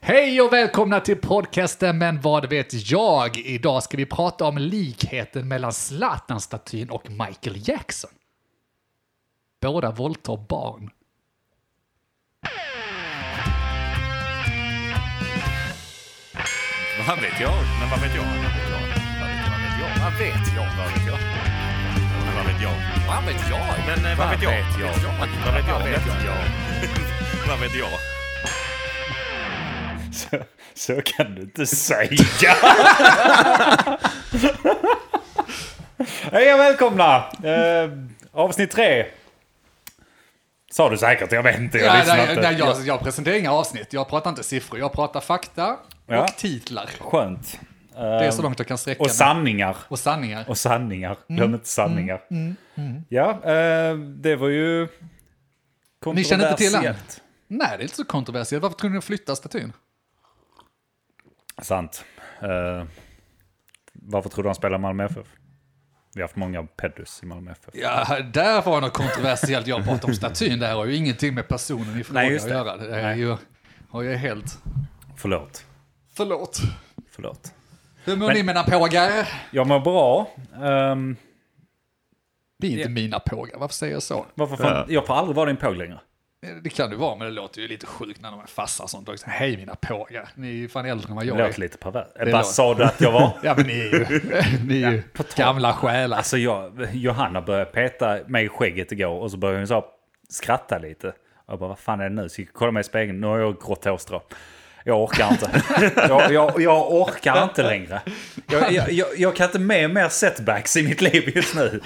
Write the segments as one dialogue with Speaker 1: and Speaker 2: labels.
Speaker 1: Hej och välkomna till podcasten Men vad vet jag? Idag ska vi prata om likheten mellan Zlatan-statyn och Michael Jackson. Båda våldtar barn.
Speaker 2: Vad vet jag? Men vad vet jag? Vad vet jag? Vad vet jag? Vad vet jag? Men Vad vet jag? Vad vet jag? Men eh, vad vet jag? eh, Vad vet jag? Vad vet jag? Vad vet jag?
Speaker 3: Så, så kan du inte säga! Hej och välkomna! Eh, avsnitt tre. Sa du säkert, jag vet inte. Jag
Speaker 1: Ja,
Speaker 3: lyssnar
Speaker 1: nej,
Speaker 3: inte.
Speaker 1: nej, jag, jag presenterar inga avsnitt, jag pratar inte siffror, jag pratar fakta
Speaker 3: Ja.
Speaker 1: och titlar.
Speaker 3: Skönt. Eh,
Speaker 1: Det är så långt jag kan sträcka
Speaker 3: och
Speaker 1: mig.
Speaker 3: sanningar.
Speaker 1: och sanningar.
Speaker 3: Och sanningar.
Speaker 1: Mm,
Speaker 3: Glöm inte sanningar. Ja, eh, det var ju
Speaker 1: Ni känner inte till den?
Speaker 3: kontroversiellt.
Speaker 1: Nej, det är inte så kontroversiellt. Varför tror ni de flyttar statyn?
Speaker 3: Sant. Eh, varför tror du han spelar i Malmö FF? Vi har haft många peddus i Malmö FF.
Speaker 1: Ja, där var något kontroversiellt. Jag pratade om statyn. Det här har ju ingenting med personen i fråga
Speaker 3: Nej, just
Speaker 1: att
Speaker 3: det.
Speaker 1: göra. Det är
Speaker 3: Nej.
Speaker 1: ju, har ju helt...
Speaker 3: Förlåt.
Speaker 1: Förlåt.
Speaker 3: Förlåt.
Speaker 1: Hur mår
Speaker 3: Men-
Speaker 1: ni mina pågar?
Speaker 3: Jag mår bra. Ehm,
Speaker 1: Det är inte mina pågar, varför säger jag så?
Speaker 3: varför fan? Jag får aldrig vara din påg längre.
Speaker 1: Det kan det vara, men det låter ju lite sjukt när de är fassa och sånt också. Hej mina pågar, ni är ju fan äldre än vad jag
Speaker 3: Det låter
Speaker 1: är.
Speaker 3: lite perverst.
Speaker 1: Det
Speaker 3: Eh, Vad
Speaker 1: låter-
Speaker 3: sa du att jag var?
Speaker 1: Ja men ni är ju, ni är ju gamla själar.
Speaker 3: Alltså jag, Johanna började peta mig i skägget igår och så började hon så här skratta lite. Jag bara, vad fan är det nu? Så gick jag och kollade mig i spegeln. Nu har jag grått hårstrå. Jag orkar inte. Jag, jag, jag orkar inte längre. Jag, jag, jag, jag kan inte med mer setbacks i mitt liv just nu.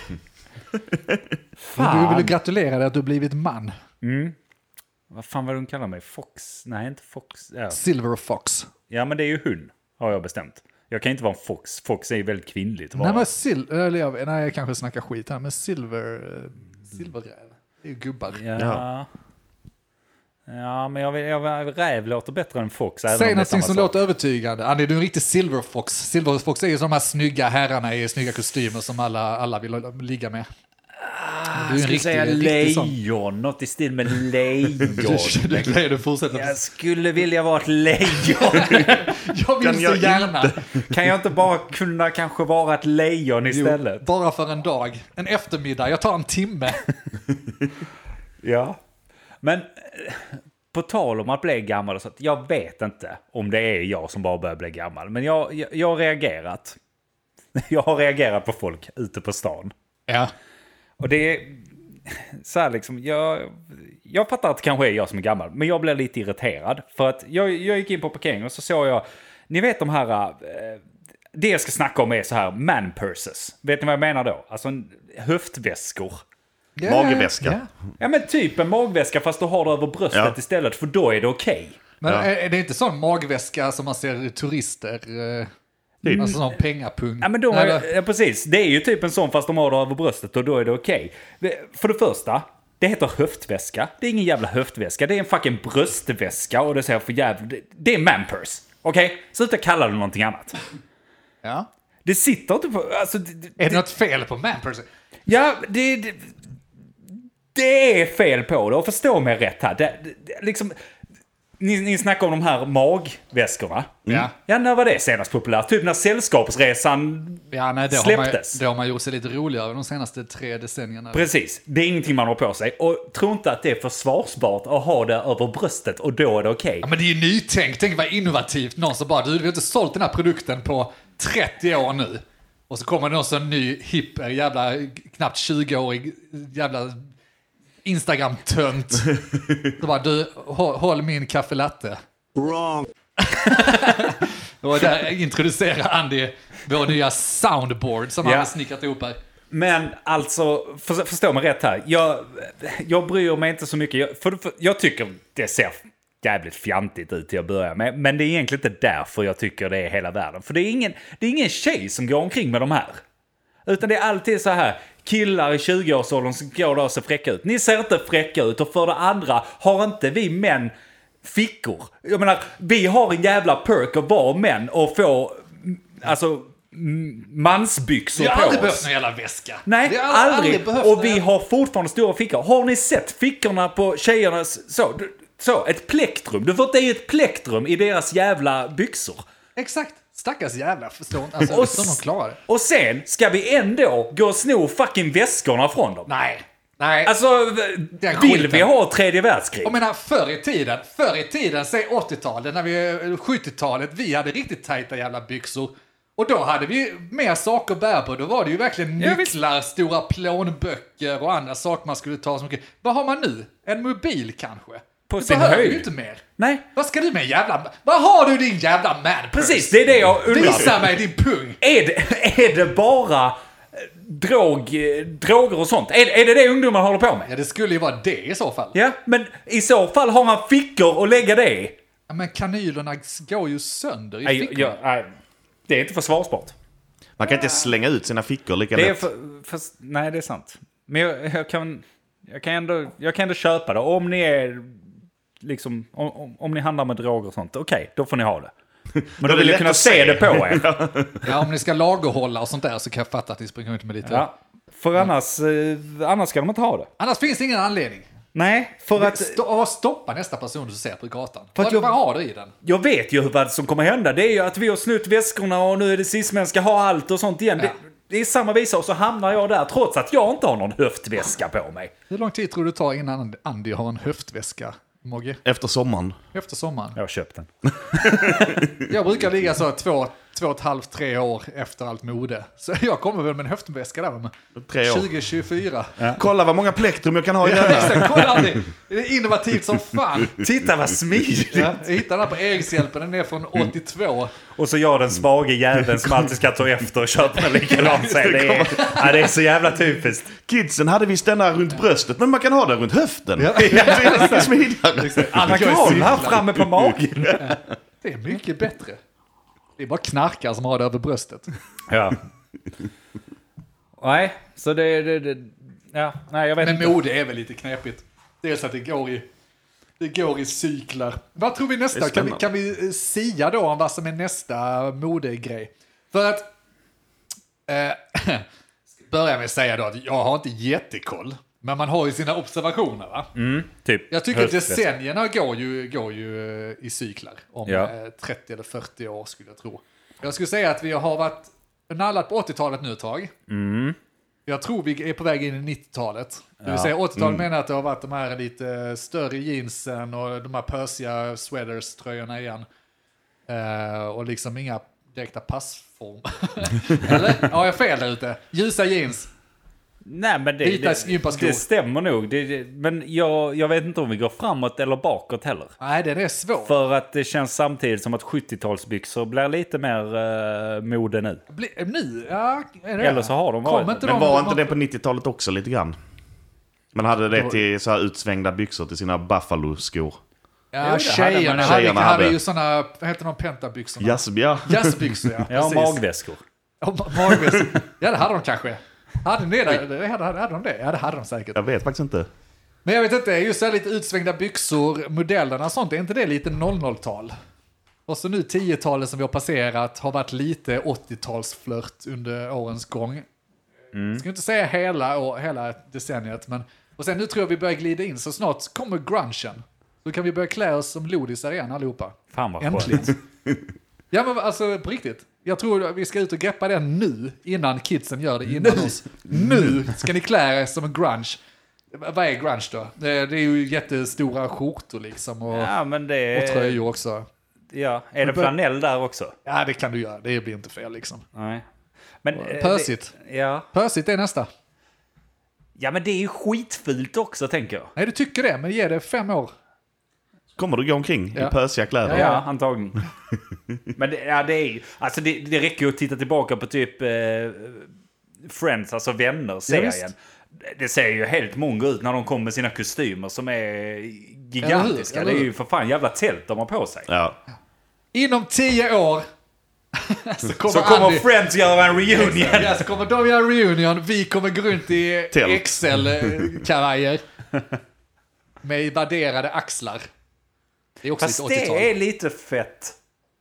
Speaker 1: Du vill ju gratulera dig att du blivit man.
Speaker 3: Vad fan var det hon kallade mig? Fox? Nej, inte Fox. Ja.
Speaker 1: Silver Fox.
Speaker 3: ja, men det är ju hon, har jag bestämt. Jag kan inte vara en Fox. Fox är ju väldigt kvinnligt. att
Speaker 1: Nej,
Speaker 3: vara.
Speaker 1: men sil- eller jag, nej, jag kanske snackar skit här, men silver... eh, Silverräv. Det är ju gubbar.
Speaker 3: Ja. Ja, men jag vill, jag vill, räv låter bättre än fox. även om det
Speaker 1: Säg
Speaker 3: är
Speaker 1: någonting
Speaker 3: samma
Speaker 1: som
Speaker 3: sak.
Speaker 1: låter övertygande. Andy, du är en riktig silverfox. Silverfox är ju som de här snygga herrarna i snygga kostymer som alla, alla vill ligga med. Du är en
Speaker 3: Jag skulle
Speaker 1: riktig,
Speaker 3: Ah, säga
Speaker 1: riktig sån.
Speaker 3: lejon, något i stil med lejon.
Speaker 1: Du, du, du, du fortsätter.
Speaker 3: Jag skulle vilja vara ett lejon.
Speaker 1: Jag vill
Speaker 2: Kan
Speaker 1: så
Speaker 2: jag
Speaker 1: gärna.
Speaker 3: Kan jag inte bara kunna kanske vara ett lejon istället?
Speaker 1: Bara för en dag. En eftermiddag. Jag tar en timme.
Speaker 3: Ja. Men eh, på tal om att bli gammal och sånt. Jag vet inte om det är jag som bara börjar bli gammal. Men jag, jag, jag har reagerat. Jag har reagerat på folk ute på stan.
Speaker 1: Ja.
Speaker 3: Och det är så här liksom, jag, jag fattar att det kanske är jag som är gammal, men jag blev lite irriterad. För att jag, jag gick in på parkeringen och så såg jag, ni vet de här, eh, det jag ska snacka om är så här man purses. Vet ni vad jag menar då? Alltså en- höftväskor.
Speaker 1: Ja,
Speaker 2: Magväska.
Speaker 1: ja.
Speaker 3: Ja men typ en magväska fast du har det över bröstet
Speaker 2: Ja.
Speaker 3: istället, för då är det okej.
Speaker 1: Men
Speaker 2: Ja.
Speaker 1: är är det inte sån magväska som man ser turister... eh,
Speaker 2: Typ.
Speaker 1: Alltså sån pengapung.
Speaker 3: Ja, men de
Speaker 1: Eller-
Speaker 3: ja, precis. Det är ju typ en sån fast de har det över bröstet och då är det okej. Det- För det första, det heter höftväska. Det är ingen jävla höftväska. Det är en fucking bröstväska och det säger för jävla... det- Det är manpurse. Okej? Sluta kalla det någonting annat.
Speaker 1: ja.
Speaker 3: Det sitter inte på... Alltså, det, det-
Speaker 1: Är det något fel på manperson?
Speaker 3: Ja, det, det, det är fel på det. Och förstå mig rätt här. Det, det, det, liksom, ni, ni snackar om de här magväskorna. Mm.
Speaker 1: Ja.
Speaker 3: Ja, när var det senast populärt? Typ när Sällskapsresan
Speaker 1: Ja, nej, det har, man,
Speaker 3: Släpptes.
Speaker 1: det har man gjort sig lite roligare de senaste tre decennierna.
Speaker 3: Precis, det är ingenting man har på sig. Och tro inte att det är försvarsbart att ha det över bröstet och då är det okej.
Speaker 1: Ja, men det är ju nytänkt, tänk vad innovativt. Någon som bara, du, vi har inte sålt den här produkten på 30 år nu. Och så kommer det någon sån ny, hipp, eh, jävla, knappt 20-årig, jävla Instagram-tönt. Så bara, du, hå- håll min kaffe latte.
Speaker 4: Wrong.
Speaker 1: Och där introducerar Andy vår nya soundboard som
Speaker 3: Ja.
Speaker 1: han har snickrat ihop här.
Speaker 3: Men alltså, för, förstå mig rätt här. Jag, jag bryr mig inte så mycket. Jag, för, för, jag tycker det ser jävligt fjantigt ut till att börja med. Men det är egentligen inte därför jag tycker det är hela världen. För det är ingen, det är ingen tjej som går omkring med de här. Utan det är alltid så här. Killar i 20-årsåldern som går där och ser fräcka ut. Ni ser inte fräcka ut och för det andra har inte vi män fickor. Jag menar, vi har en jävla perk att vara män och få mm, alltså mm, mansbyxor
Speaker 1: Jag
Speaker 3: på
Speaker 1: har aldrig
Speaker 3: oss.
Speaker 1: behövt någon jävla väska.
Speaker 3: Nej,
Speaker 1: Vi har
Speaker 3: aldrig.
Speaker 1: behövt
Speaker 3: och vi
Speaker 1: någon-
Speaker 3: har fortfarande stora fickor. Har ni sett fickorna på tjejernas... Så, du- Så, ett plektrum. Du får inte i ett plektrum i deras jävla byxor.
Speaker 1: Exakt. Stackars jävlar, förstår inte. Alltså,
Speaker 3: Och
Speaker 1: förstår de
Speaker 3: s-
Speaker 1: klarar det.
Speaker 3: Och sen ska vi ändå gå och sno fucking väskorna från dem.
Speaker 1: Nej. Nej.
Speaker 3: Alltså, vill
Speaker 1: skiten.
Speaker 3: vi ha tredje världskrig?
Speaker 1: Jag menar förr i tiden, förr i tiden, säg 80-talet, när vi, eller 70-talet, vi hade riktigt tajta jävla byxor. Och då hade vi ju mer saker att bära på. Då var det ju verkligen
Speaker 3: Ja,
Speaker 1: nycklar, stora plånböcker och andra saker man skulle ta. Så mycket. Vad har man nu? En mobil kanske?
Speaker 3: På
Speaker 1: du
Speaker 3: sin
Speaker 1: behöver
Speaker 3: höjd.
Speaker 1: ju inte mer.
Speaker 3: Nej,
Speaker 1: Vad ska du med en jävla... Vad har du din jävla man purse?
Speaker 3: precis. Det är det jag undrar.
Speaker 1: Visa mig din pung!
Speaker 3: Är det, är det bara eh, drog, eh, droger och sånt? Är, är det det ungdomar håller på med?
Speaker 1: Ja, det skulle ju vara det i så fall.
Speaker 3: Ja, men i så fall har han fickor att lägga det i.
Speaker 1: Ja, Men kanylerna går ju sönder i
Speaker 3: Nej,
Speaker 1: fickorna.
Speaker 3: jag- nej, det är inte försvarsbart.
Speaker 2: Man kan inte slänga ut sina fickor lika
Speaker 3: Det är
Speaker 2: lätt.
Speaker 3: för, fast- nej, det är sant. Men jag, jag, kan, jag, kan ändå, jag kan ändå köpa det. Om ni är... Liksom, om- om, om ni handlar med droger och sånt, okej, då får ni ha det. Men
Speaker 2: är
Speaker 3: då vill
Speaker 2: det
Speaker 3: jag
Speaker 2: lätt
Speaker 3: kunna
Speaker 2: att
Speaker 3: se
Speaker 2: se.
Speaker 3: det på er. Ja.
Speaker 1: Ja, om ni ska lagerhålla och sånt där så kan jag fatta att ni springer runt med lite...
Speaker 3: För annars, eh, annars ska de inte ha det.
Speaker 1: Annars finns det ingen anledning.
Speaker 3: Nej, för att
Speaker 1: Sto- och stoppa nästa person du ser på gatan.
Speaker 3: att
Speaker 1: Vad,
Speaker 3: jag-
Speaker 1: vad har du i den?
Speaker 3: jag vet ju vad som kommer hända. Det är ju att vi har snott väskorna och nu är det cismen ska ha allt och sånt igen.
Speaker 1: Ja.
Speaker 3: Det, det är samma visa och så hamnar jag där trots att jag inte har någon höftväska på mig.
Speaker 1: Hur lång tid tror du det tar innan Andy har en höftväska, Mogge?
Speaker 2: Efter sommaren.
Speaker 1: Efter sommaren?
Speaker 3: Jag har köpt den.
Speaker 1: Jag brukar ligga så två, två och ett halvt, tre år efter allt mode. Så jag kommer väl med en höftväska där. Med
Speaker 2: Tre år.
Speaker 1: 2024.
Speaker 2: Kolla vad många plektrum jag kan ha i den här.
Speaker 1: Exakt, kolla Andy! Det är innovativt som fan.
Speaker 3: Titta vad smidigt!
Speaker 1: Ja, jag hittade den här på Erikshjälpen, den är från 82.
Speaker 3: Och så jag den svage jäveln som alltid ska ta efter och köpa en likadan sen. Det är, ja, det är så jävla typiskt.
Speaker 2: Kidsen hade visst denna runt bröstet, men man kan ha den runt höften.
Speaker 1: Ja.
Speaker 2: Det är lite smidigare.
Speaker 3: Man kan ha den här framme på magen.
Speaker 1: Det är mycket bättre. Det är bara knarkar som har det över bröstet.
Speaker 3: Ja. Nej, så det... det, det ja, nej, jag vet
Speaker 1: Men
Speaker 3: inte.
Speaker 1: mode är väl lite knepigt. Dels att det går i, det går i cyklar. Vad tror vi
Speaker 2: Det
Speaker 1: nästa?
Speaker 2: är
Speaker 1: Kan vi,
Speaker 2: spännande.
Speaker 1: kan vi eh, sia då om vad som är nästa modegrej? För att... Eh, börja med att säga då att jag har inte jättekoll. Men man har ju sina observationer va?
Speaker 3: Typ
Speaker 1: Jag tycker att
Speaker 3: höftväska.
Speaker 1: decennierna går ju, går ju eh, i cyklar. Om
Speaker 3: Ja.
Speaker 1: eh, 30 eller 40 år skulle jag tro. Jag skulle säga att vi har varit nallat på 80-talet nu ett tag.
Speaker 3: Mm.
Speaker 1: Jag tror vi är på väg in i 90-talet. Det vill säga 80-talet
Speaker 3: Mm.
Speaker 1: menar jag att det har varit de här lite större jeansen och de här pösiga sweaters-tröjorna igen. Eh, och liksom inga direkta passform. Eller? Har jag fel där ute? Ljusa jeans.
Speaker 3: Nej, men det,
Speaker 1: Vita
Speaker 3: det,
Speaker 1: gympaskor.
Speaker 3: det stämmer nog. Det, det, men jag, jag vet inte om vi går framåt eller bakåt heller.
Speaker 1: Nej, den är svår.
Speaker 3: För att det känns samtidigt som att 70-talsbyxor blir lite mer eh, mode nu.
Speaker 1: Bli, nu? Ja, är det
Speaker 3: Eller så har de varit
Speaker 1: Kom
Speaker 3: det.
Speaker 1: inte
Speaker 2: Men
Speaker 1: de-
Speaker 2: var inte det på 90-talet också lite grann? Man hade det till så här utsvängda byxor till sina Buffalo-skor.
Speaker 1: Ja,
Speaker 3: Jo, det hade
Speaker 1: tjejerna,
Speaker 3: man.
Speaker 1: hade,
Speaker 2: Tjejerna
Speaker 1: hade,
Speaker 2: hade.
Speaker 1: ju sådana, vad heter de, pentabyxorna?
Speaker 2: Jazzbia.
Speaker 1: Jazzbyxor ja.
Speaker 3: Ja,
Speaker 1: precis.
Speaker 3: magväskor.
Speaker 1: Ja, ma- magbyxor. Ja, det hade de kanske. Hade, ni det? Det hade, hade de det? Ja, det hade de säkert.
Speaker 2: Jag vet faktiskt inte.
Speaker 1: Men jag vet inte, just så här lite utsvängda byxor, modellerna och sånt, är inte det lite 00-tal? Och så nu 10-talet som vi har passerat har varit lite 80-talsflört under årens gång. Jag ska inte säga hela, år, hela decenniet, men... Och sen nu tror jag vi börjar glida in, så snart kommer grungen. Då kan vi börja klä oss som lodisar igen allihopa.
Speaker 3: Fan vad
Speaker 1: Äntligen.
Speaker 3: skönt.
Speaker 1: Ja men alltså på riktigt. Jag tror att vi ska ut och greppa det nu innan kidsen gör det innan oss. Nu ska ni klä er som en grunge. V- Vad är grunge då? Eh, Det är ju jättestora skjortor liksom och,
Speaker 3: Ja, men
Speaker 1: och
Speaker 3: det...
Speaker 1: tröjor också.
Speaker 3: Ja, är det
Speaker 1: bör-
Speaker 3: flanell där också?
Speaker 1: Ja det kan du göra, det blir inte fel liksom.
Speaker 3: Nej. Men, eh,
Speaker 1: Pösigt.
Speaker 3: det- Ja.
Speaker 1: Pösigt är nästa.
Speaker 3: ja, men det är ju skitfult också tänker jag.
Speaker 1: Nej du tycker det, men ge det fem år.
Speaker 2: Kommer du gå omkring
Speaker 1: Ja.
Speaker 2: i pösiga kläder?
Speaker 3: Ja, antagligen. men det, ja, det är ju... Alltså det, det räcker ju att titta tillbaka på typ eh, Friends, alltså
Speaker 1: Ja,
Speaker 3: vänner-serien.
Speaker 1: visst.
Speaker 3: det ser ju helt mongo ut när de kommer med sina kostymer som är gigantiska.
Speaker 1: Eller hur?
Speaker 3: Det är ju för fan jävla tält de har på sig.
Speaker 2: Ja.
Speaker 1: Inom tio år så kommer,
Speaker 3: Så kommer
Speaker 1: Andy,
Speaker 3: Friends göra en reunion.
Speaker 1: ja, så kommer de göra reunion, vi kommer gå runt i
Speaker 2: Tält.
Speaker 1: XL-kavajer. Med vadderade axlar. Det är också
Speaker 3: Fast
Speaker 1: lite 80-tal.
Speaker 3: det är lite fett.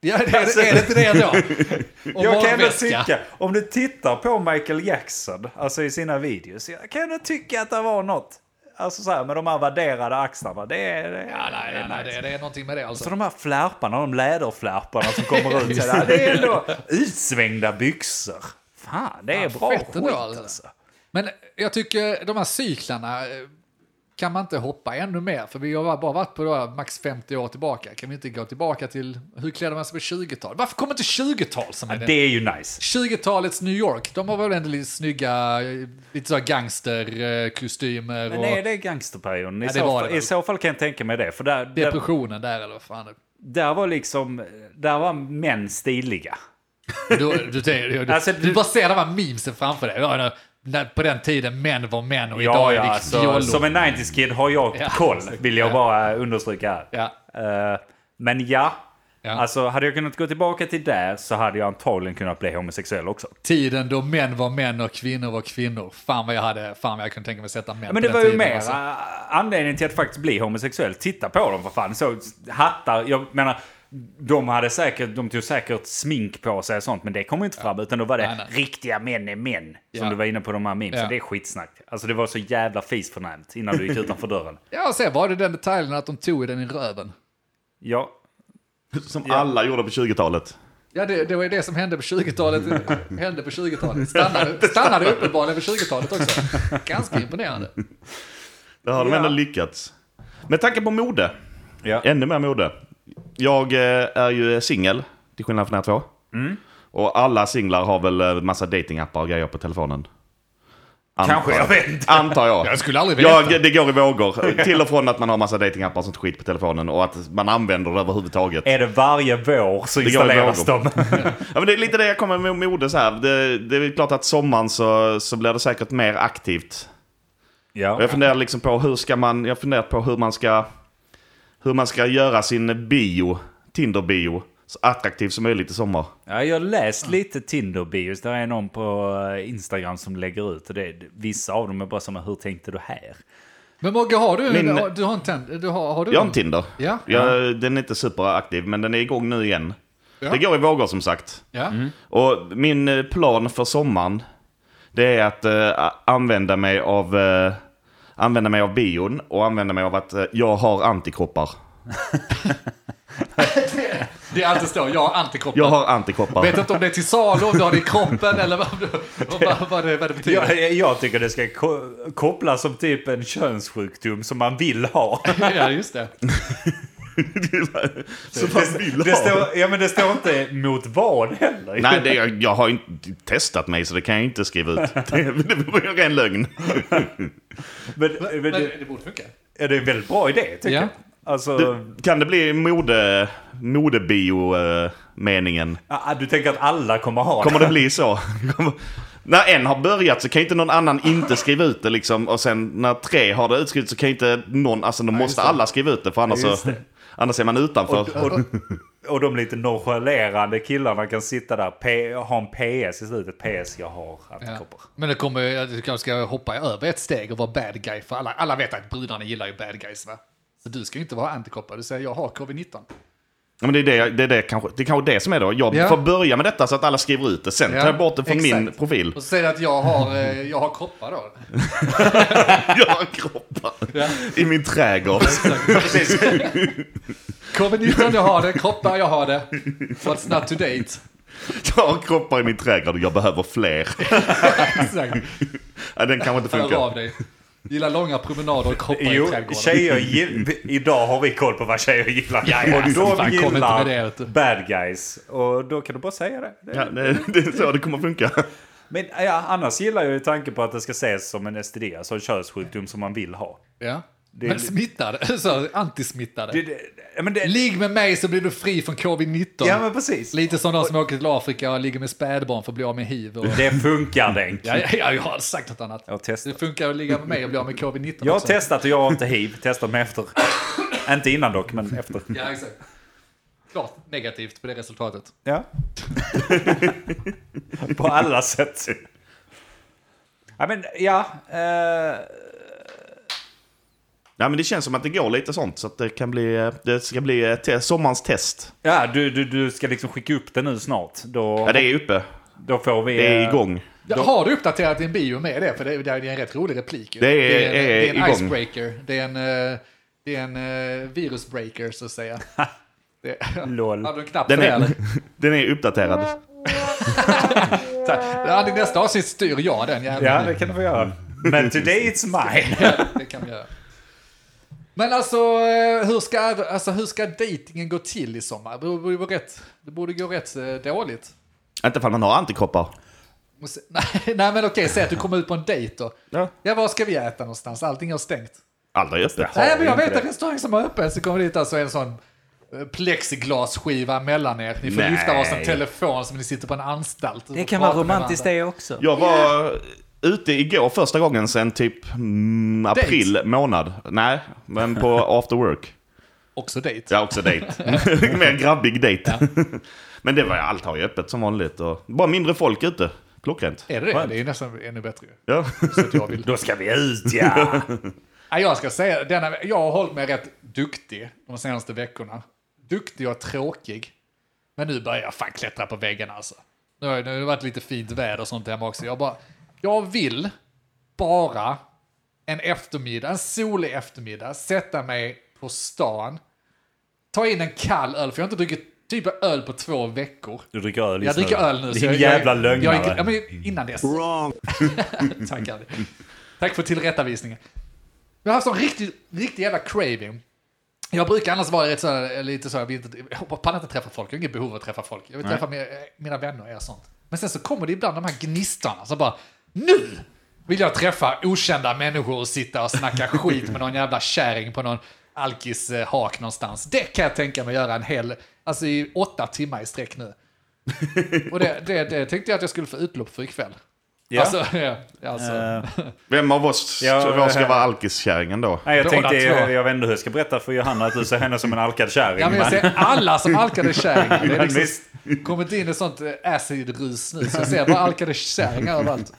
Speaker 1: Ja, det är, det, är det inte det då? Och
Speaker 3: Jag kan ändå
Speaker 1: magväska.
Speaker 3: tycka, om du tittar på Michael Jackson, alltså i sina videos, jag kan ändå tycka att det var något. alltså så här, med de här värderade axlarna. Det är, det är,
Speaker 1: Ja, nej, nej, nej, det, det är någonting med det
Speaker 3: Så
Speaker 1: alltså.
Speaker 3: de här flärparna, de läderflärparna som kommer ut så där, det är ändå utsvängda byxor. Fan, det är
Speaker 1: Ja,
Speaker 3: bra
Speaker 1: fett
Speaker 3: skit
Speaker 1: ändå, alltså.
Speaker 3: alltså.
Speaker 1: Men jag tycker de här cyklarna eh, kan man inte hoppa ännu mer. För vi har bara varit på då här max 50 år tillbaka. Kan vi inte gå tillbaka till hur klädde man sig på 20-tal? Varför kommer inte 20-tal som är
Speaker 3: Det
Speaker 1: det?
Speaker 3: är ju nice.
Speaker 1: 20-talets New York, de har väl ändå lite snygga, eh, lite sådär gangsterkostymer
Speaker 3: Men är
Speaker 1: och
Speaker 3: det gangsterperioden? I,
Speaker 1: Ja, det
Speaker 3: så,
Speaker 1: var
Speaker 3: fall,
Speaker 1: det väl.
Speaker 3: I så fall kan jag tänka mig det. För där, där,
Speaker 1: depressionen där eller vad fan. det är.
Speaker 3: där var liksom, där var män stiliga.
Speaker 1: Du, du, du, du,
Speaker 3: Alltså,
Speaker 1: du,
Speaker 3: du-
Speaker 1: bara ser de här memesen framför dig. Ja, när- när, på den tiden män var män och
Speaker 3: Ja,
Speaker 1: idag är
Speaker 3: ja,
Speaker 1: vi
Speaker 3: alltså,
Speaker 1: alltså,
Speaker 3: som en 90s kid har jag
Speaker 1: Ja,
Speaker 3: koll,
Speaker 1: exakt.
Speaker 3: vill jag
Speaker 1: Ja.
Speaker 3: bara understryka här.
Speaker 1: Ja.
Speaker 3: Eh, men ja,
Speaker 1: Ja.
Speaker 3: alltså hade jag kunnat gå tillbaka till där så hade jag antagligen kunnat bli homosexuell också.
Speaker 1: Tiden då män var män och kvinnor var kvinnor. Fan vad jag hade, fan vad jag kunde tänka mig sätta män på
Speaker 3: Men det
Speaker 1: den
Speaker 3: var ju
Speaker 1: tiden,
Speaker 3: mer
Speaker 1: alltså.
Speaker 3: eh, anledningen till att faktiskt bli homosexuell. Titta på dem för fan. Så hattar, jag menar, de hade säkert, de tog säkert smink på sig och sånt, men det kom ju inte fram. Utan då var det
Speaker 1: Nej, nej.
Speaker 3: riktiga män är män. Som
Speaker 1: Ja.
Speaker 3: du var inne på de här memesen.
Speaker 1: Ja.
Speaker 3: Det är skitsnack. Alltså det var så jävla fisförnämt innan du gick utanför dörren.
Speaker 1: Ja, och sen var det den detaljen att de tog den i röven.
Speaker 3: Ja,
Speaker 4: Som alla gjorde på 20-talet.
Speaker 1: Ja, det, det var ju det som hände på 20-talet. hände på 20-talet. Stannade, stannade uppenbarligen på 20-talet också. Ganska imponerande.
Speaker 4: Där har de
Speaker 3: Ja.
Speaker 4: ändå lyckats. Med tanke på mode.
Speaker 3: Ja.
Speaker 4: Ännu mer mode. Jag eh, är ju singel, till skillnad från er två.
Speaker 3: Mm.
Speaker 4: Och alla singlar har väl eh, massa datingappar och grejer på telefonen. Antar
Speaker 3: Kanske, jag vet inte.
Speaker 4: Antar jag.
Speaker 1: Jag skulle aldrig veta.
Speaker 4: Jag, det går i vågor. Till och från att man har massa datingappar och sånt skit på telefonen och att man använder det överhuvudtaget.
Speaker 3: är det varje vår så
Speaker 4: Det går i
Speaker 3: installeras de.
Speaker 4: vågor. Ja, men det är lite det jag kommer med mode så här. Det, det är väl klart att sommaren så, så blir det säkert mer aktivt. Och
Speaker 3: ja.
Speaker 4: jag funderar liksom på hur ska man, jag har funderat på hur man ska, hur man ska göra sin bio, Tinder-bio, så attraktiv som möjligt i sommar.
Speaker 3: ja, jag har läst lite Tinder-bios. Där är någon på eh, Instagram som lägger ut. Och det, vissa av dem är bara som, hur tänkte du här?
Speaker 1: Men Mogge, har du,
Speaker 4: Min-
Speaker 1: har- du har en tänd... Du har, har du
Speaker 4: Jag har
Speaker 1: en-
Speaker 4: en Tinder.
Speaker 1: Ja.
Speaker 4: Jag, den är inte superaktiv, men den är igång nu igen.
Speaker 1: Ja.
Speaker 4: Det går i vågor som sagt.
Speaker 1: Ja.
Speaker 4: Och min eh, plan för sommaren, det är att eh, använda mig av... Eh, Använda mig av bion och använda mig av att eh, jag har antikroppar.
Speaker 1: Det är alltid så. Jag har antikroppar.
Speaker 4: Jag har antikroppar.
Speaker 1: Vet inte om det är till salu, om du har det i kroppen eller vad, vad, vad, vad, det, vad det betyder.
Speaker 3: Jag, eh, jag tycker det ska ko- kopplas som typ en könssjukdom som man vill ha.
Speaker 1: Ja, just det.
Speaker 4: Så man vill
Speaker 3: Det, det,
Speaker 4: ha.
Speaker 3: står, ja, men det står inte mot vad heller.
Speaker 4: Nej, det, jag, jag har ju inte testat mig så det kan jag ju inte skriva ut. Det, det vore ju en ren lögn.
Speaker 3: Men, men,
Speaker 1: Men
Speaker 3: det,
Speaker 1: det, borde funka.
Speaker 3: är det är en väldigt bra idé tycker
Speaker 1: Ja.
Speaker 3: jag. Alltså,
Speaker 4: Kan det bli mode, modebio-meningen?
Speaker 3: ah, du tänker att alla kommer ha
Speaker 4: Kommer det bli så? Kommer, när en har börjat så kan ju inte någon annan inte skriva ut det liksom. Och sen när tre har det utskrivet så kan ju inte någon, alltså då måste alla skriva ut det för annars,
Speaker 3: just
Speaker 4: så, annars är man utanför.
Speaker 3: Och, och de lite nonchalerande killarna kan sitta där P, ha en PS i slutet. PS, jag har
Speaker 1: Ja.
Speaker 3: antikroppar.
Speaker 1: Men det kommer, jag tycker jag ska hoppa över ett steg och vara bad guy. För alla, alla vet att brudarna gillar ju bad guys va? Så du ska ju inte vara antikroppar, du säger jag har covid-19.
Speaker 4: Ja, men det, är det, jag- det, är det, kanske, det är kanske det som är då. Jag
Speaker 1: Ja.
Speaker 4: får börja med detta så att alla skriver ut det. Sen tar jag bort det från min
Speaker 1: exakt.
Speaker 4: profil.
Speaker 1: Och så säger du att jag har, eh, jag har kroppar då.
Speaker 4: Jag har kroppar i min trädgård.
Speaker 1: Precis. Covid-19 jag har det, kroppar jag har det. What's not to date?
Speaker 4: Jag har kroppar i min trädgård och jag behöver fler.
Speaker 1: Exakt.
Speaker 4: Ja, Den kanske inte
Speaker 1: Hör
Speaker 4: funkar.
Speaker 1: av dig. Gillar långa promenader och kroppar
Speaker 3: Jo,
Speaker 1: i trädgården.
Speaker 3: tjejer gill, idag har vi koll på vad tjejer gillar.
Speaker 1: Ja, ja,
Speaker 3: och
Speaker 1: fan, kom
Speaker 3: de
Speaker 1: inte med
Speaker 3: gillar
Speaker 1: det, vet du.
Speaker 3: bad guys. Och då kan du bara säga det. det.
Speaker 4: Ja, det, det är så det kommer funka.
Speaker 3: Men ja, annars gillar jag ju tanken på att det ska ses som en STD, alltså en könssjukdom som man vill ha.
Speaker 1: Ja.
Speaker 3: är
Speaker 1: Men
Speaker 3: li-
Speaker 1: smittade, så antismittade.
Speaker 3: Det, det, ja, men det,
Speaker 1: Ligg med mig så blir du fri från covid-19.
Speaker 3: ja, men precis.
Speaker 1: Lite som de som åker till Afrika och ligger med spädbarn för att bli av med hiv. Och...
Speaker 3: Det funkar, Denk.
Speaker 1: Ja, ja, ja, jag har sagt något annat.
Speaker 3: Jag har testat.
Speaker 1: Det funkar att ligga med mig och bli av med covid-19
Speaker 3: Jag har
Speaker 1: också.
Speaker 3: testat och jag har inte hiv. Testat mig efter. inte innan dock, men efter.
Speaker 1: Ja, exakt. Klart negativt på det resultatet.
Speaker 3: Ja. På alla sätt. Ja, men ja. Eh,
Speaker 4: Nej, men det känns som att det går lite sånt. Så att det, kan bli, det ska bli eh, te, sommarens test.
Speaker 3: ja du, du, du ska liksom skicka upp det nu snart. Då,
Speaker 4: Ja, det är uppe.
Speaker 3: då får vi...
Speaker 4: Det är
Speaker 3: eh,
Speaker 4: igång.
Speaker 1: Ja, Har du uppdaterat din bio med det? För det, det är en rätt rolig replik. ju.
Speaker 4: Det är-
Speaker 1: en,
Speaker 4: är
Speaker 1: det är en
Speaker 4: igång.
Speaker 1: icebreaker. Det är en, eh, det är en eh, virusbreaker, så att säga. Det,
Speaker 3: Lol.
Speaker 1: hade du en knapp för
Speaker 4: Den
Speaker 1: det, eller?
Speaker 4: är, den är uppdaterad.
Speaker 1: Ja, I nästa avsnitt styr jag den jäveln.
Speaker 3: Ja, det kan du få göra. Mm. Men today it's mine.
Speaker 1: Ja, det kan vi göra. Men alltså eh, hur, ska, alltså, hur ska datingen gå till i sommar? Det borde, gå rätt, det borde gå rätt eh, dåligt.
Speaker 4: Inte fall man har antikroppar.
Speaker 1: Och se- Nej, nej men okej, säg att du kommer ut på en dejt då.
Speaker 4: Ja.
Speaker 1: Ja, var ska vi äta någonstans? Allting är stängt.
Speaker 4: Aldrig öppet.
Speaker 1: Nej, men jag vet en restaurang som har öppet, så kommer dit alltså en sån eh, plexiglasskiva mellan er. Ni får
Speaker 4: Nej.
Speaker 1: lyfta varsin telefon som ni sitter på en anstalt.
Speaker 5: Det kan vara romantiskt det också.
Speaker 4: Jag var ute igår första gången sen typ mm, april månad. Nej, men på after work.
Speaker 1: Också dejt.
Speaker 4: Ja, också dejt. Mer en grabbig dejt. men det var allt har ju öppet som vanligt. Och bara mindre folk ute. Klockrent.
Speaker 1: Är det det? Det är ju nästan ännu bättre.
Speaker 4: Ja.
Speaker 1: Så att jag vill.
Speaker 3: Då ska vi ut ja!
Speaker 1: Ja, jag ska säga, denna, jag har hållit mig rätt duktig de senaste veckorna. Duktig och tråkig. Men nu börjar jag fan klättra på väggen alltså. Nu har, nu har det varit lite fint väder och sånt hemma också. Jag, bara, jag vill bara en eftermiddag, en solig eftermiddag, sätta mig på stan, ta in en kall öl, för jag har inte druckit typ öl på två veckor.
Speaker 3: Du dricker öl
Speaker 1: Jag
Speaker 3: just nu.
Speaker 1: dricker öl nu. så
Speaker 3: Din
Speaker 1: jag-
Speaker 3: jävla
Speaker 1: jag,
Speaker 3: lögnare.
Speaker 1: Jag, ja, men innan dess. Wrong. Tack, Andy. Tack för tillrättavisningen. Jag har haft en riktig, riktig jävla craving. Jag brukar annars vara rätt så här, lite så här, jag, vill inte, jag pallar inte träffa folk, jag har inget behov av att träffa folk. Jag vill träffa mina, mina vänner och er och sånt. Men sen så kommer det ibland de här gnistorna som bara, nu vill jag träffa okända människor och sitta och snacka skit med någon jävla kärring på någon alkishak någonstans. Det kan jag tänka mig göra en hel, alltså i åtta timmar i sträck nu. Och det, det, det tänkte jag att jag skulle få utlopp för ikväll.
Speaker 3: Ja.
Speaker 1: Alltså, ja, alltså.
Speaker 3: Eh,
Speaker 4: Vem av oss
Speaker 3: Ja,
Speaker 4: vad ska
Speaker 3: eh,
Speaker 4: vara alkiskärringen då?
Speaker 3: nej, jag
Speaker 1: Båda
Speaker 3: tänkte,
Speaker 1: två.
Speaker 3: jag, jag vet inte hur jag ska berätta för Johanna att du ser henne som en alkad kärring.
Speaker 1: Ja, men jag
Speaker 3: men-
Speaker 1: ser alla som alkade kärringar. Det
Speaker 3: Ja,
Speaker 1: är liksom
Speaker 3: visst.
Speaker 1: kommit in i sånt eh, acid-rus nu, så jag ser bara alkade kärringar överallt.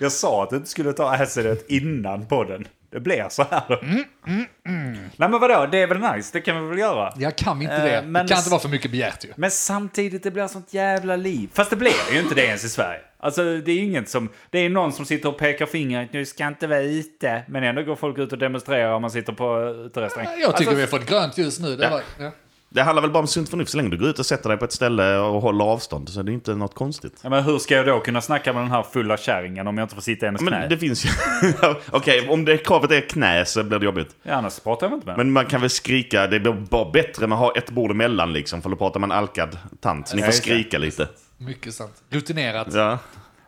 Speaker 3: Jag sa att du inte skulle ta acidet innan podden. Det blir så här.
Speaker 1: Mm,
Speaker 3: Nej men vadå, det är väl nice, det kan vi väl göra?
Speaker 1: Jag kan inte
Speaker 3: Eh,
Speaker 1: det.
Speaker 3: men-
Speaker 1: det kan inte vara för mycket begärt ju.
Speaker 3: Men samtidigt, det blir sånt jävla liv. Fast det blir ju inte det ens i Sverige. Alltså det är ju inget som... Det är någon som sitter och pekar fingret, nu ska inte vara ute. Men ändå går folk ut och demonstrerar om man sitter på eh, uterestaurang.
Speaker 1: Jag tycker
Speaker 3: alltså,
Speaker 1: vi har fått grönt ljus nu. Det
Speaker 4: Ja.
Speaker 1: var, ja.
Speaker 4: Det handlar väl bara om sunt förnuft. Så länge du går ut och sätter dig på ett ställe och håller avstånd så är det inte något konstigt.
Speaker 3: Ja, men hur ska jag då kunna snacka med den här fulla kärringen om jag inte får sitta i hennes
Speaker 4: Men
Speaker 3: knä?
Speaker 4: det finns ju... Okej, om det kravet är knä så blir det jobbigt.
Speaker 3: Ja, annars pratar jag inte med henne.
Speaker 4: Men man kan väl skrika, det blir bara bättre med att ha ett bord emellan liksom, för då pratar man alkad tant. Så ni
Speaker 3: Ja,
Speaker 4: får
Speaker 3: just det.
Speaker 4: skrika lite.
Speaker 1: Mycket sant. Rutinerat.
Speaker 4: Ja.